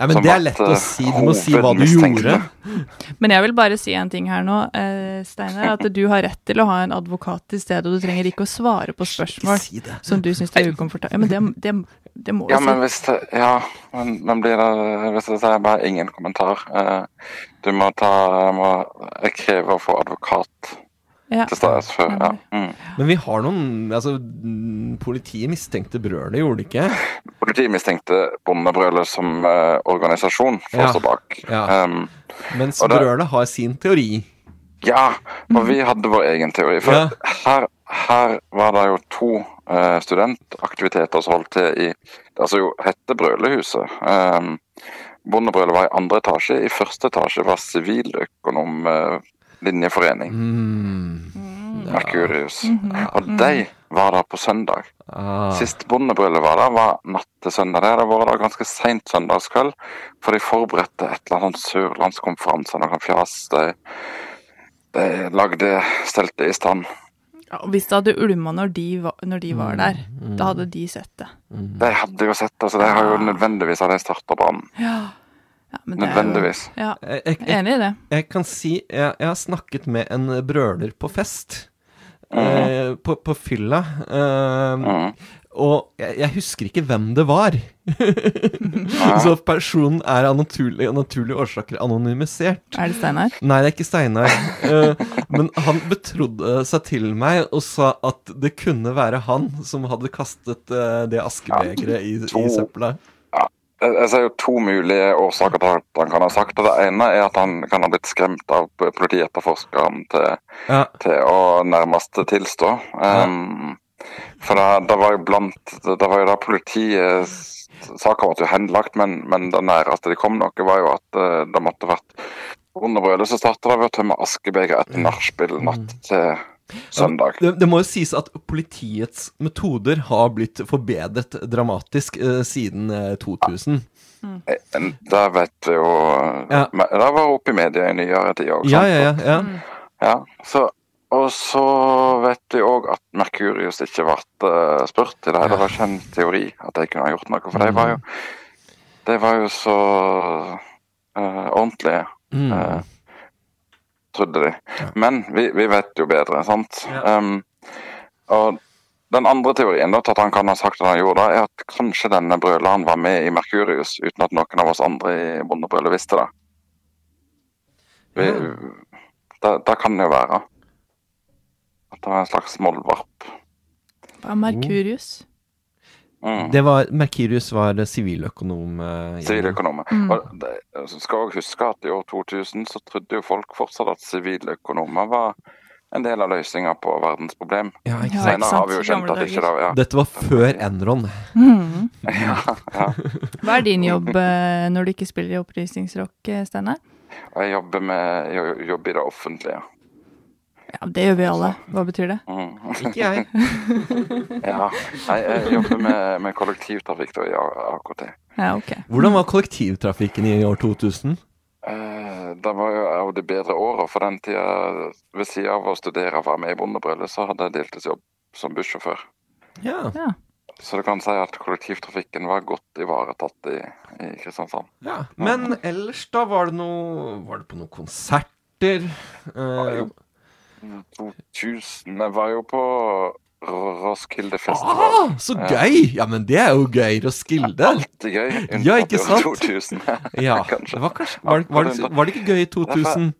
S1: Nei, men
S10: Som
S1: det er
S10: at,
S1: lett å
S10: eh,
S1: si. Du må si hva du
S10: hovedmistenkte.
S1: gjorde.
S2: Men jeg vil bare si en ting her nå, eh, Steinar. At du har rett til å ha en advokat til stede, og du trenger ikke å svare på
S1: Ikke
S2: spørsmål
S1: si det.
S2: som du syns er ukomfortabelt. Ja, men det, det, det må du
S10: Ja,
S2: si.
S10: men hvis det Ja, men, men blir det Hvis det er bare ingen kommentar eh, Du må ta jeg, må, jeg krever å få advokat
S2: Ja.
S10: til stede før ja. mm.
S1: Men vi har noen Altså, mm, politiet mistenkte brølet, gjorde de ikke?
S10: Politiet mistenkte Bondebrølet som eh, organisasjon for
S1: Ja.
S10: å stå bak.
S1: Ja.
S10: Um,
S1: Mens
S10: Og det-
S1: brølet har sin teori.
S10: ja, og vi hadde vår egen teori. For
S1: Ja.
S10: her, her var det jo to eh, studentaktiviteter som holdt til i det som jo hette Brølehuset. Um, Bondebrølet var i andre etasje. I første etasje var eh, Siviløkonomlinjeforening.
S1: Mm.
S10: Merkurius. Og de var der på søndag.
S1: Ah.
S10: Sist bondebryllet var der, var natt til søndag. Det hadde vært der ganske seint søndagskveld, for de forberedte et eller annet sånn sørlandskonferanse, noe fjas. De, de lagde stelte i stand.
S2: Ja, og Hvis det hadde ulma når de var, når de
S1: Mm,
S2: var der, da hadde de sett det.
S10: De hadde jo sett Altså, det, så de har jo nødvendigvis hadde starta brannen.
S2: Ja, men det er jo-
S10: Nødvendigvis.
S2: Ja,
S1: Jeg, jeg,
S2: jeg er
S1: jeg,
S2: enig i det.
S1: jeg kan si jeg, jeg har snakket med en brøler på fest. Eh, på, på fylla. Eh,
S10: Mhm.
S1: Og jeg, jeg husker ikke hvem det var. *laughs* Så personen er av naturlige, av naturlige årsaker anonymisert.
S2: Er det Steinar?
S1: Nei, det er ikke Steinar. Eh, men han betrodde seg til meg og sa at det kunne være han som hadde kastet eh, det askebegeret i, i søpla.
S10: Jeg jeg ser jo to mulige årsaker til at han kan ha sagt det. Det ene er at han kan ha blitt skremt av politietterforskeren til,
S1: Ja.
S10: til å nærmest tilstå. Um, For det, det var jo blant Det var jo da politiet s- Saken ble jo henlagt, men, men det næreste de kom noe, var jo at eh, det måtte vært Under brølet så startet det ved å tømme askebeger etter nachspiel natt til søndag.
S1: Det, det må jo sies at politiets metoder har blitt forbedret dramatisk eh, siden eh, 2000.
S10: En- Det Eh, vet vi jo
S1: Ja.
S10: men Det var oppe i media i nyere tid òg.
S1: Ja, ja, ja. ja.
S10: Ja, så, og så vet vi òg at Merkurius ikke ble eh, spurt i det. Det var ikke en teori at de kunne ha gjort noe, for de var jo, de var jo så eh, ordentlige.
S1: Mm.
S10: eh, trodde de. Men vi, vi vet jo bedre, sant? Um, og den andre teorien da, til at han kan ha sagt at han gjorde det, er at kanskje denne brøleren var med i Merkurius uten at noen av oss andre i Bondebrølet visste det. Vi, det, det kan det jo være. At det var en slags mollvarp.
S2: Hva er Merkurius?
S10: Mm.
S1: Det var, Merkurius var eh, siviløkonom. eh,
S10: Siviløkonomer. Og det, så skal jeg også huske at i år 2000 så trodde jo folk fortsatt at siviløkonomer var en del av løsninga på verdens problem.
S1: Ja, ikke sant.
S10: Senere har vi jo
S2: Gamle
S10: skjønt at ikke det
S2: dager.
S10: ja.
S1: Dette var før Enron. Mm.
S2: Mhm.
S10: ja, ja.
S2: Hva er din jobb eh, når du ikke spiller i opprysningsrock, eh, Steinar?
S10: Og Jeg jobber, med, jeg jobber i det offentlige.
S2: Ja, det gjør vi alle. Hva betyr det?
S10: Mm.
S1: Ikke jeg.
S10: Ja. Jeg, jeg jobber med, med kollektivtrafikk da, i A- AKT.
S2: Ja, ok.
S1: Hvordan var kollektivtrafikken i år 2000?
S10: Eh, Det var jo av de bedre åra. For den tida, ved sida av å studere og være med i Bondebrølet, så hadde jeg deltidsjobb som bussjåfør.
S1: Ja.
S2: Ja.
S10: Så du kan si at kollektivtrafikken var godt ivaretatt i, i Kristiansand.
S1: ja.
S10: Mm.
S1: Men ellers, da? Var det noe Var det på noen konserter? Eh,
S10: 2000 Jeg Mm, var jo på Ro- Roskilde festival.
S1: ah, så gøy! Ja, men det er jo gøy å skilde.
S10: Alltid gøy. unntatt
S1: Ja, ikke
S10: i år
S1: sant?
S10: *laughs* 2000,
S1: Ja, det
S10: kanskje.
S1: var, *laughs* kanskje, var, var, det, var det ikke gøy i 2000?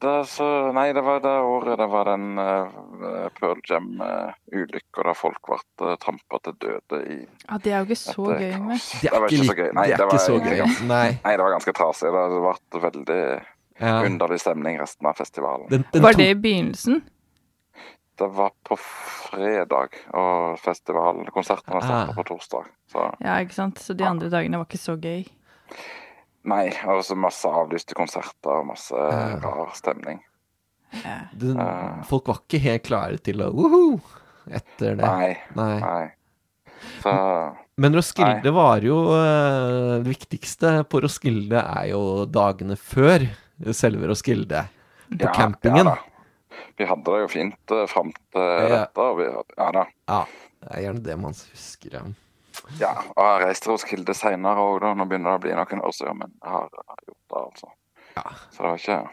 S10: Det, er så, nei, det var det året det var den uh, Pearl eh, Jam-ulykka der folk ble uh, trampa til døde i
S2: Ja, det er jo ikke så
S10: et, eh,
S2: gøy med.
S10: kaos.
S1: Det er ikke,
S10: så gøy.
S1: like-
S10: Nei,
S1: det er ikke
S10: var,
S1: så gøy. altså.
S10: ganske-
S1: Nei.
S10: Nei, det var ganske trasig. Det ble veldig
S1: Ja.
S10: underlig stemning resten av festivalen.
S1: Den, den
S2: Var
S1: to-
S2: det i begynnelsen?
S10: Det var på fredag, og festivalen, konsertene starta
S1: Ah.
S10: på torsdag. Så
S2: Ja, ikke sant? Så de andre dagene var ikke så gøy.
S10: nei, og så masse avlyste konserter og masse
S1: Ah.
S10: rar stemning.
S1: den, folk var ikke helt klare til å woho etter det.
S10: Nei,
S1: Nei.
S10: nei. Så
S1: Men Roskilde var jo eh, Det viktigste på Roskilde er jo dagene før selve Roskilde. På
S10: ja,
S1: campingen.
S10: Ja, da. vi hadde det jo fint eh, fram til
S1: Ja.
S10: dette. Og vi, ja da.
S1: Ja, det er gjerne det man husker. Ja.
S10: Ja, og jeg reiste til Roskilde seinere òg, da. Nå begynner det å bli noen år siden, men jeg har jeg har gjort det, altså. Så det var ikke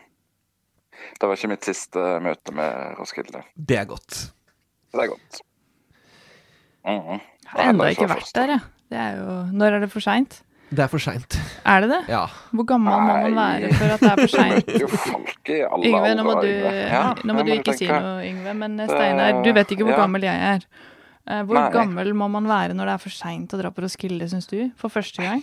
S10: Det var ikke mitt siste møte med Roskilde.
S1: Det er godt.
S10: Så det er godt. Mhm.
S2: Jeg har ennå
S10: Det er
S2: ikke
S10: så
S2: vært
S10: først.
S2: der, jeg. Det er jo Når er det for seint?
S1: Det er for seint.
S2: Er det det?
S1: Ja. *laughs*
S2: Hvor gammel må man
S10: Nei.
S2: være for at det er for
S10: *laughs*
S2: seint?
S10: Det er jo folk i alle
S2: Yngve, nå må
S10: aldre,
S2: du,
S10: Yngve. Ja,
S2: nå må
S10: det
S2: du ikke si
S10: tenke.
S2: noe, Yngve, men eh, Steinar, du vet ikke hvor
S10: Ja.
S2: gammel jeg er. Eh, Hvor
S10: Nei.
S2: gammel må man være når det er for seint å dra på Roskilde, syns du? For første gang?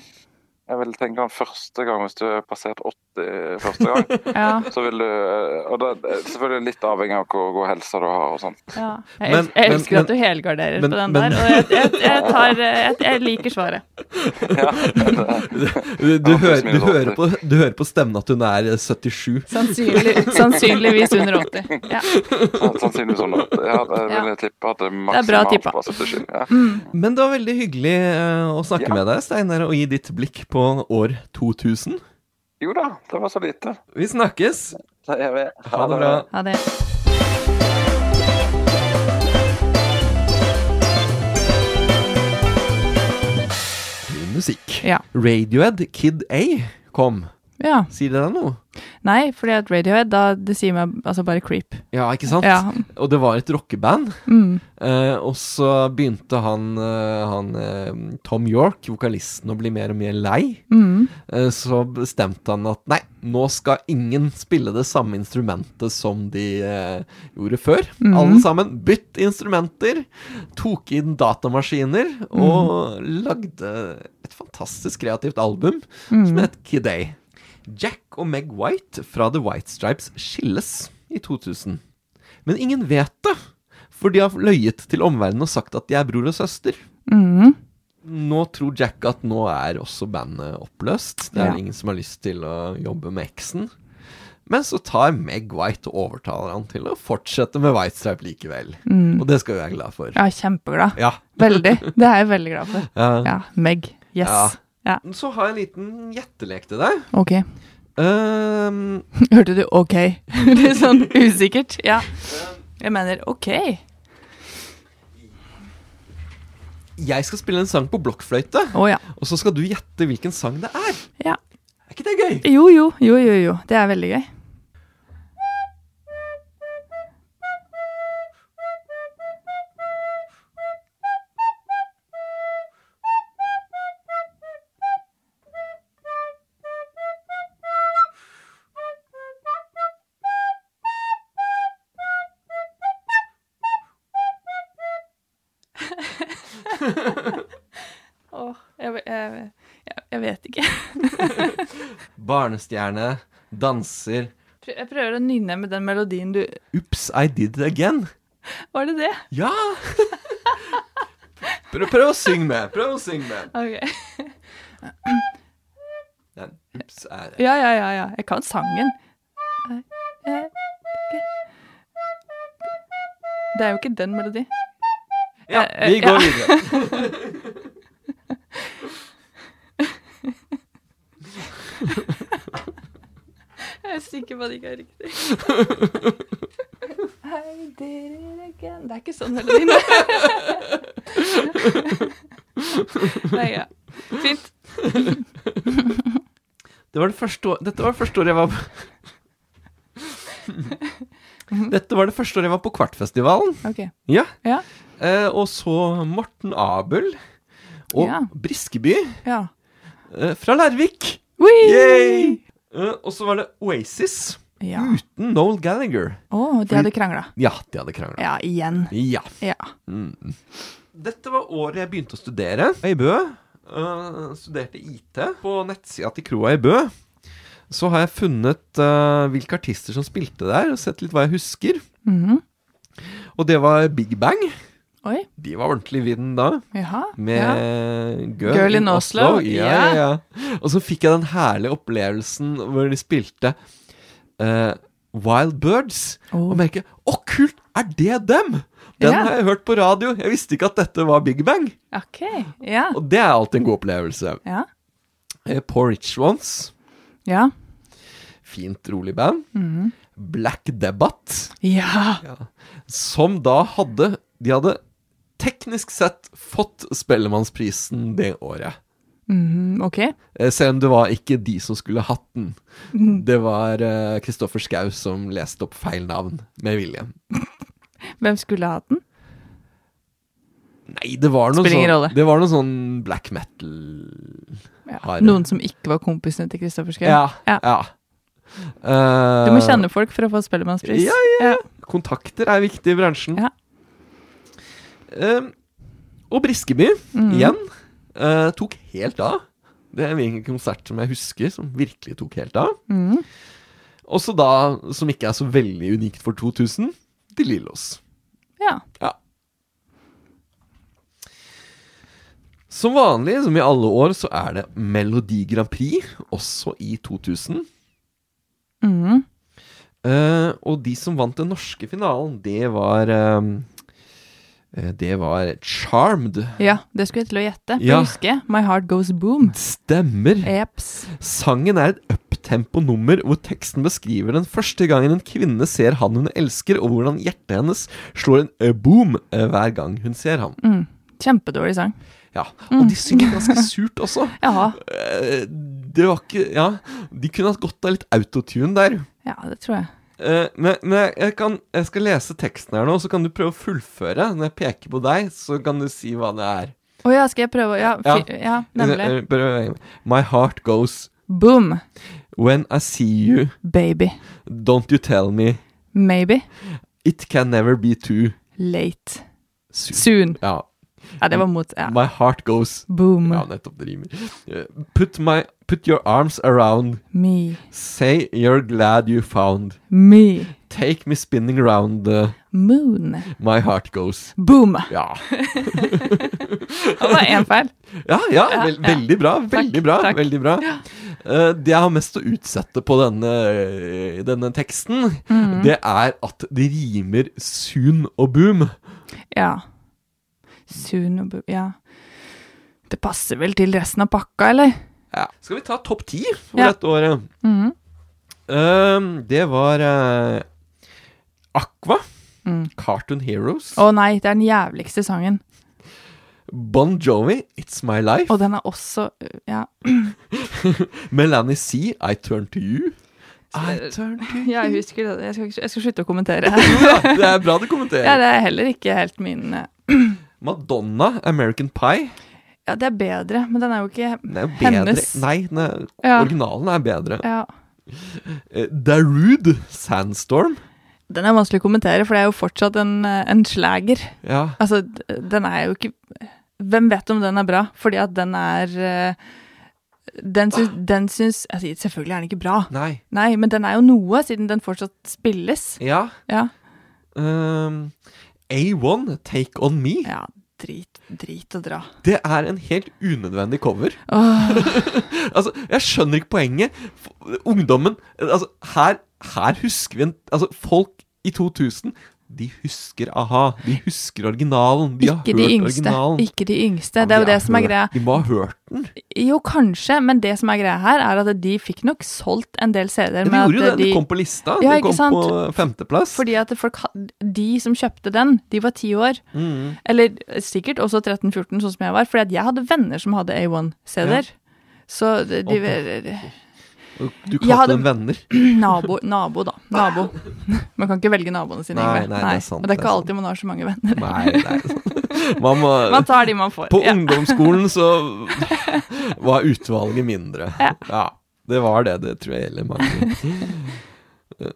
S10: Jeg vil tenke den første gang hvis du har passert 80 første gang.
S2: Ja.
S10: Så vil du, eh, og det er selvfølgelig litt avhengig av hvor god helse du har og sånt.
S1: *laughs*
S2: ja. Jeg,
S1: Men-
S2: els- jeg
S1: men-
S2: elsker
S1: men-
S2: at du helgarderer
S1: men-
S2: på den
S1: men-
S2: der, og jeg, jeg, jeg, tar, eh, jeg, jeg liker svaret.
S1: Du, du, hører,
S10: Ja, pluss
S1: du,
S10: minus
S1: hører
S10: åtti.
S1: på, du hører på stemmen at hun er eh, 77.
S2: Sannsynlig, *laughs* sannsynligvis under 80. Ja.
S10: Så Sannsynligvis sånn at ja, jeg vil
S2: Ja.
S10: tippe at det er
S2: er bra
S10: maksimalt
S2: tippa.
S10: på 77. Ja.
S1: Men det var veldig hyggelig eh, å snakke
S10: Ja.
S1: med deg, Steinar, og gi ditt blikk på år 2000.
S10: Jo da, det var så lite.
S1: Vi snakkes!
S10: Da er vi.
S1: Ha det bra.
S2: Ha det.
S1: Musikk.
S2: Ja.
S1: Radiohead Kid A kom.
S2: Ja.
S1: Sier det deg noe?
S2: Nei, fordi at Radiohead, da, det sier meg altså bare creep.
S1: Ja, ikke sant?
S2: Ja.
S1: Og det var et rockeband.
S2: Mm.
S1: Eh, og så begynte han, eh, han eh, Tom York, vokalisten, å bli mer og mer lei.
S2: Mm.
S1: Eh, så bestemte han at nei, nå skal ingen spille det samme instrumentet som de eh, gjorde før.
S2: Mm.
S1: Alle sammen bytt instrumenter, tok inn datamaskiner og
S2: Mm.
S1: lagde et fantastisk kreativt album
S2: Mm.
S1: som het Kid A. Jack og Meg White fra The White Stripes skilles i 2000. Men ingen vet det, for de har løyet til omverdenen og sagt at de er bror og søster.
S2: Mm.
S1: Nå tror Jack at nå er også bandet oppløst. Det er
S2: Ja.
S1: ingen som har lyst til å jobbe med eksen. Men så tar Meg White og overtaler han til å fortsette med White Stripe likevel.
S2: Mm.
S1: Og det skal vi være glad for.
S2: Jeg er kjempeglad.
S1: Ja.
S2: Veldig. Det er jeg veldig glad for.
S1: Ja.
S2: Ja. Meg. Yes.
S1: Ja.
S2: Ja.
S1: Så har jeg en liten gjettelek til deg.
S2: Ok. *laughs*
S1: Ehm,
S2: Hørte du ok? *laughs* Litt sånn usikkert. Ja.
S1: Um.
S2: Jeg mener ok.
S1: jeg skal spille en sang på blokkfløyte,
S2: Å ja.
S1: og så skal du gjette hvilken sang det er.
S2: ja.
S1: Er ikke det gøy?
S2: Jo, jo, jo, jo, jo. Det er veldig gøy. Åh, jeg, jeg, jeg, jeg vet ikke.
S1: Barnestjerne, danser
S2: Prø- Jeg prøver å nynne med den melodien du
S1: Ups, I did it again.
S2: Var det det?
S1: Ja! Prøv, prøv å synge med. Prøv å synge med.
S2: Ok.
S1: Den, ups, er det.
S2: *laughs* Ja, ja, ja. ja. Jeg kan sangen. Det er jo ikke den melodien.
S1: Ja,
S2: Eh, eh,
S1: vi går
S2: ja.
S1: videre.
S2: *laughs* Jeg er sikker på at det ikke er
S1: *laughs*
S2: riktig. I did it again. Det er ikke sånn melodien er. *laughs* Nei, ja. Fint.
S1: Det var det første år, dette var det første året jeg var på Dette var det første året jeg var på Kvartfestivalen.
S2: Ok.
S1: Ja.
S2: Ja.
S1: Eh, og så Morten Abel og
S2: Ja.
S1: Briskeby
S2: Ja.
S1: eh, fra Larvik.
S2: Whee!
S1: Yay! Eh, og så var det Oasis
S2: Ja.
S1: uten Noel Gallagher.
S2: Å, de hadde krangla.
S1: Ja, de hadde krangla.
S2: Ja, igjen.
S1: Ja.
S2: Ja.
S1: Dette var året jeg begynte å studere i Bø. Eh, studerte IT. På nettsida til Kroa i Bø så har jeg funnet eh, hvilke artister som spilte der, og sett litt hva jeg husker.
S2: Mhm.
S1: Og det var Big Bang.
S2: Oi.
S1: De var ordentlig i vinden da.
S2: Jaha.
S1: Med
S2: Ja.
S1: Girl,
S2: Girl
S1: in
S2: in
S1: Oslo.
S2: Oslo,
S1: Ja, ja. ja. Og så fikk jeg den herlige opplevelsen hvor de spilte eh, Wild Birds.
S2: Oh.
S1: Og merke Å, kult! Er det dem? Den
S2: Ja.
S1: har jeg hørt på radio. Jeg visste ikke at dette var Big Bang.
S2: Ok. Ja.
S1: Og det er alltid en god opplevelse.
S2: Ja.
S1: Eh, Poor Rich Ones.
S2: Ja.
S1: Fint, rolig band.
S2: Mhm.
S1: Black Debate.
S2: Ja.
S1: Som da hadde De hadde teknisk sett fått Spellemannsprisen det året.
S2: Mhm, ok.
S1: Eh, Selv om det var ikke de som skulle hatt den.
S2: Mhm.
S1: Det var eh, Kristoffer Schau som leste opp feil navn med vilje.
S2: Hvem skulle ha hatt den?
S1: Nei, det var noe
S2: Spiller ingen
S1: sånn,
S2: rolle.
S1: det var noe sånn black metal Har-
S2: Noen som ikke var kompisene til Kristoffer Schou?
S1: Ja. ja.
S2: Ja. Du må
S1: Eh,
S2: kjenne folk for å få Spellemannspris.
S1: Ja, ja, ja. Kontakter er viktig i bransjen.
S2: Ja.
S1: Eh, og Briskeby, igjen, eh, tok helt av. Det er en konsert som jeg husker, som virkelig tok helt av. Også da, som ikke er så veldig unikt for 2000, De Lillos.
S2: Ja.
S1: Ja. Som vanlig, som i alle år, så er det Melodi Grand Prix, også i 2000.
S2: Mhm.
S1: Eh, og de som vant den norske finalen, det var eh, eh, Det var Charmed.
S2: ja, det skulle jeg til å gjette.
S1: Ja.
S2: Ja. Husker My Heart Goes Boom.
S1: Stemmer.
S2: Eps.
S1: Sangen er et uptempo-nummer hvor teksten beskriver den første gangen en kvinne ser han hun elsker, og hvordan hjertet hennes slår en eh, boom eh, hver gang hun ser ham.
S2: Kjempedårlig sang.
S1: Ja, Og de synger ganske surt også.
S2: Ja.
S1: Eh, det var ikke Ja, de kunne hatt godt av litt autotune der.
S2: Ja, det tror jeg.
S1: Eh, men men jeg, jeg, kan, jeg skal lese teksten her nå, så kan du prøve å fullføre. Når jeg peker på deg, så kan du si hva det er.
S2: Å ja, skal jeg prøve å Ja,
S1: Ja.
S2: fi, ja nemlig.
S1: Eh, prøv- My heart goes
S2: Boom.
S1: when I see you.
S2: Baby.
S1: Don't you tell me.
S2: Maybe.
S1: It can never be too
S2: Late.
S1: soon.
S2: Soon.
S1: Ja.
S2: Ja, det var mot ja. Mm.
S1: My heart goes
S2: Boom.
S1: Ja, nettopp. Det rimer. Eh, Put, my, put your arms around.
S2: Me.
S1: Say you're glad you found.
S2: Me.
S1: Take me spinning round. eh,
S2: Moon.
S1: my heart goes.
S2: Boom.
S1: Ja.
S2: Det var én feil.
S1: Ja, ja,
S2: Ja,
S1: vel,
S2: ja.
S1: veldig bra. Veldig bra.
S2: takk.
S1: Veldig bra. Eh, det jeg har mest å utsette på denne, eh, denne teksten,
S2: Mhm.
S1: det er at det rimer soon og boom.
S2: Ja. Soon og bu- Ja. Det passer vel til resten av pakka, eller?
S1: Skal vi ta topp ti for
S2: Ja.
S1: dette året?
S2: Mhm.
S1: Eh, det var eh, Aqua.
S2: Mm.
S1: Cartoon Heroes.
S2: Å nei, det er den jævligste sangen.
S1: Bon Jovi, It's My Life.
S2: Og den er også Ja.
S1: Melanie C, I Turn To You. I turn
S2: *laughs*
S1: to you.
S2: Eh, Jeg husker det. Jeg skal, ikke- jeg skal slutte å kommentere.
S1: Det er bra du kommenterer.
S2: *laughs* Ja, det er heller ikke helt min eh,
S1: Madonna, American Pie.
S2: Ja, det er bedre, men den er jo ikke
S1: Den er jo bedre.
S2: Hennes.
S1: Nei, den er,
S2: Ja.
S1: originalen er bedre.
S2: Ja.
S1: Eh, Darude, Sandstorm.
S2: Den er vanskelig å kommentere, for det er jo fortsatt en, eh, en slager.
S1: Ja.
S2: Altså, d- den er jo ikke Hvem vet om den er bra? Fordi at den er eh, Den syns, den syns altså, Selvfølgelig er den ikke bra,
S1: Nei.
S2: Nei, men den er jo noe, siden den fortsatt spilles.
S1: Ja.
S2: Ja,
S1: ehm, A1, Take On Me.
S2: ja drit, drit å dra.
S1: Det er en helt unødvendig
S2: *laughs*
S1: cover. altså, jeg skjønner ikke poenget. F- Ungdommen Altså, her, her husker vi en Altså, folk i 2000 de husker a-ha. De husker originalen. De har
S2: Ikke de
S1: hørt
S2: yngste.
S1: originalen.
S2: Ikke de yngste. Det er jo det som er greia.
S1: De må ha hørt den.
S2: Jo, kanskje, men det som er greia her, er at de fikk nok solgt en del CD-er
S1: De
S2: med
S1: gjorde jo det.
S2: at
S1: De
S2: de
S1: kom på lista.
S2: Ja,
S1: de
S2: ikke
S1: kom
S2: sant?
S1: på femteplass.
S2: fordi at folk, had- de som kjøpte den, de var ti år.
S1: Mm.
S2: Eller sikkert også 13-14, sånn som jeg var. Fordi at jeg hadde venner som hadde A1-CD-er. Så de, de,
S1: Og Du
S2: Jeg
S1: kalte
S2: hadde-
S1: dem venner.
S2: Nabo, nabo da. Nabo. *laughs* Man kan ikke velge naboene sine.
S1: Nei,
S2: Yngve.
S1: nei, det er sant,
S2: Og det
S1: det
S2: er
S1: er
S2: ikke alltid man har så mange venner.
S1: Nei, nei. Man må,
S2: *laughs* Man tar de man får.
S1: på
S2: ja.
S1: ungdomsskolen
S2: *laughs*
S1: så var utvalget mindre. Ja. Det var det. Det tror jeg gjelder mange.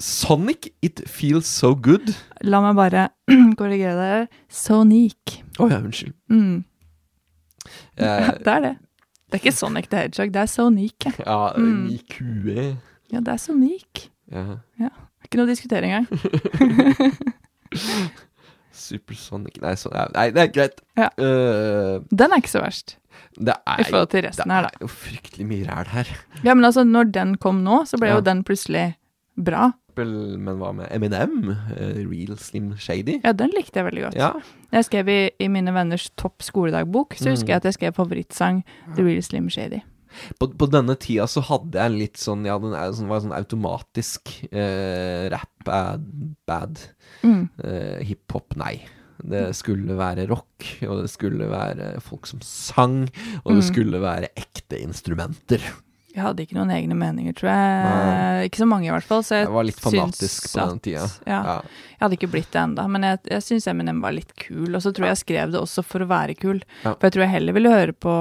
S1: Sonic It Feels So Good.
S2: La meg bare *clears throat* korrigere deg her. Sonic.
S1: Å ja, unnskyld.
S2: Mm.
S1: Eh,
S2: *laughs* Det er det. Det er ikke Sonic the Hedgehog, det er Sonic. ja.
S1: ja,
S2: Mm.
S1: IQE.
S2: Ja, det er Sonic.
S1: Ja.
S2: Ikke noe å diskutere engang.
S1: Supersonic Nei, så, nei, det er greit.
S2: Ja.
S1: Eh,
S2: Den er ikke så verst.
S1: det er
S2: I forhold til
S1: det
S2: resten her,
S1: er jo fryktelig mye ræl her.
S2: Ja, men altså, når den kom nå, så ble
S1: Ja.
S2: jo den plutselig bra.
S1: Men hva med Eminem? Eh, Real Slim Shady?
S2: Ja, den likte jeg veldig godt.
S1: Ja.
S2: Jeg skrev i, i mine venners topp skoledagbok, så
S1: Mm.
S2: husker jeg at jeg skrev favorittsang The Real Slim Shady.
S1: på, på denne tida så hadde jeg en litt sånn Ja, den er, sånn, var sånn automatisk eh, Rap er bad
S2: Mm.
S1: eh, Hiphop, nei Det skulle være rock Og det skulle være folk som sang Og
S2: Mm.
S1: det skulle være ekte instrumenter
S2: Jeg hadde ikke noen egne meninger, tror jeg. Ikke så mange, i hvert fall. Så jeg,
S1: Jeg var litt fanatisk
S2: syns
S1: på den tida
S2: At, ja. Jeg hadde ikke blitt det enda, men jeg, jeg syns Eminem var litt kul. Og så tror jeg jeg skrev det også for å være kul.
S1: Ja.
S2: For jeg tror jeg heller ville høre på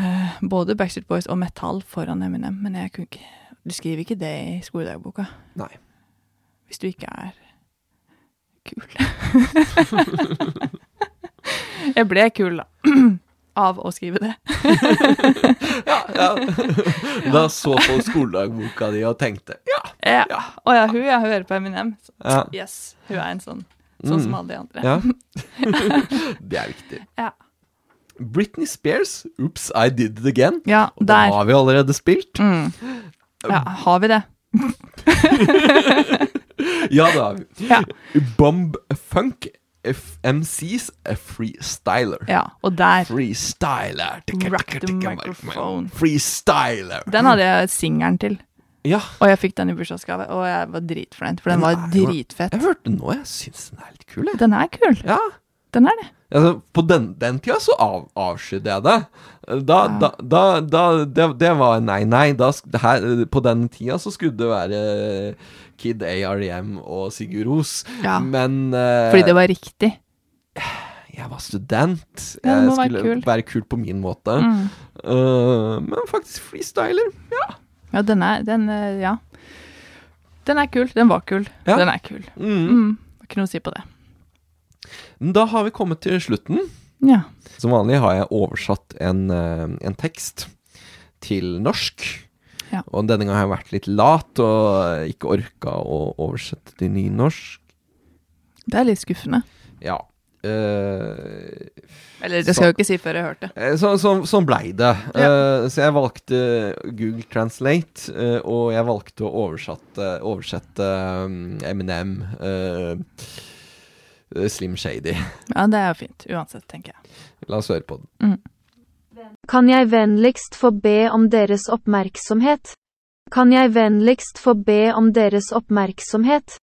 S2: eh, både Backstreet Boys og Metal foran Eminem, men jeg kunne ikke Du skriver ikke det i skoledagboka
S1: Nei
S2: hvis du ikke er kul.
S1: *laughs*
S2: jeg ble kul, da. *clears throat* Av å skrive det.
S1: ja.
S2: *laughs*
S1: Da så folk skoledagboka di og tenkte Ja,
S2: Ja. Å ja, hun ja, hun hører på Eminem. Så,
S1: Ja. Mm.
S2: Yes, hun er en sånn. Sånn som alle de andre. *laughs*
S1: ja. Det er viktig
S2: Ja.
S1: Britney Spears Oops, I did it again
S2: Ja,
S1: Og
S2: der. Mm.
S1: den har vi allerede spilt
S2: Ja, har vi det?
S1: Ja, det har vi
S2: Ja.
S1: Bomb Funk FMCs A eh, Freestyler.
S2: ja. Og der.
S1: Freestyler. Tikka,
S2: Rock
S1: tikka,
S2: the
S1: tikka,
S2: microphone.
S1: Freestyler.
S2: Den hadde jeg singelen til,
S1: Ja.
S2: og jeg fikk den i bursdagsgave, og jeg var dritfornøyd, for den var
S1: er jo-
S2: dritfett.
S1: Jeg hørte den nå, jeg syns den er litt kul, jeg.
S2: Den er kul.
S1: Ja.
S2: den her, det.
S1: Altså, på den, den tida så av, avskydde jeg det. Da, da, da, da det, det var nei, nei. Da, sk- det her, på den tida så skulle det være Kid AREM og Sigurd Ros.
S2: Ja.
S1: Men eh,
S2: Fordi det var riktig.
S1: jeg var student.
S2: Ja, du
S1: jeg
S2: må være
S1: skulle
S2: kul.
S1: være kul på min måte.
S2: Mm.
S1: Eh, men faktisk freestyler.
S2: Ja, den er den, eh, Ja. Den er kul. Den var kul.
S1: Ja.
S2: Den er kul.
S1: Mm.
S2: Mm. Har ikke noe å si på det. Mm.
S1: Da har vi kommet til slutten.
S2: Ja.
S1: Som vanlig har jeg oversatt en, eh, en tekst til norsk.
S2: Ja.
S1: Og denne gangen har jeg vært litt lat og ikke orka å oversette til nynorsk.
S2: Det er litt skuffende.
S1: Ja. eh,
S2: Eller det skal jeg jo ikke si før jeg har hørt det.
S1: eh, så, så, sånn blei det. Eh, så jeg valgte Google Translate, eh, og jeg valgte å oversette, oversette mm, Eminem eh, Slim Shady.
S2: Ja, det er jo fint. Uansett, tenker jeg.
S1: La oss høre på den.
S11: Kan jeg vennligst få be om deres oppmerksomhet? Kan jeg vennligst få be om deres oppmerksomhet?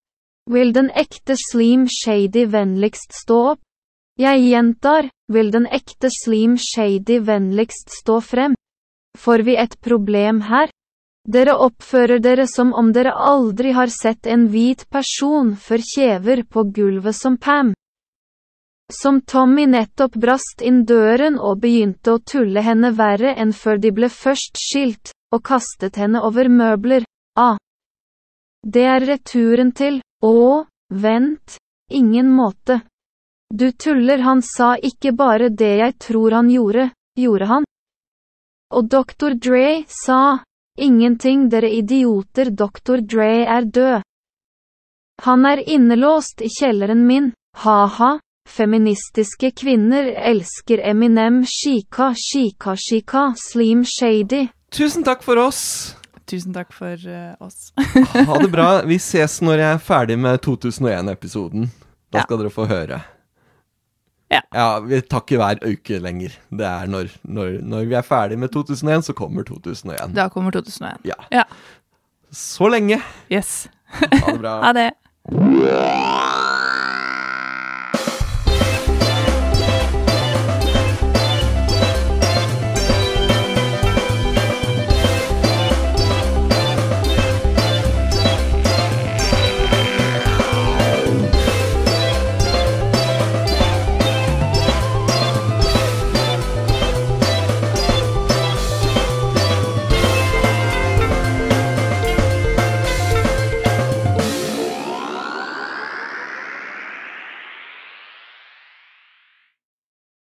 S11: Vil den ekte Slim Shady vennligst stå opp? Jeg gjentar, vil den ekte Slim Shady vennligst stå frem? Får vi et problem her? Dere oppfører dere som om dere aldri har sett en hvit person før kjever på gulvet som Pam. Som Tommy nettopp brast inn døren og begynte å tulle henne verre enn før de ble først skilt, og kastet henne over møbler. A. Det er returen til, å, vent, ingen måte. Du tuller han sa ikke bare det jeg tror han gjorde, gjorde han. Og Dr. Dre sa, ingenting dere idioter Dr. Dre er død. Han er innelåst i kjelleren min, ha-ha. Feministiske kvinner elsker Eminem Shika Shika Shika Slim Shady.
S1: Tusen takk for oss!
S2: Tusen takk for eh, oss. *laughs*
S1: Ha det bra. Vi ses når jeg er ferdig med 2001-episoden. Da
S2: Ja.
S1: skal dere få høre.
S2: Ja.
S1: Vi tar ikke hver uke lenger. Det er når, når, når vi er ferdig med 2001, så kommer 2001.
S2: Da kommer 2001.
S1: Ja.
S2: Ja.
S1: Så lenge.
S2: Yes.
S1: Ha det bra.
S2: Ha det.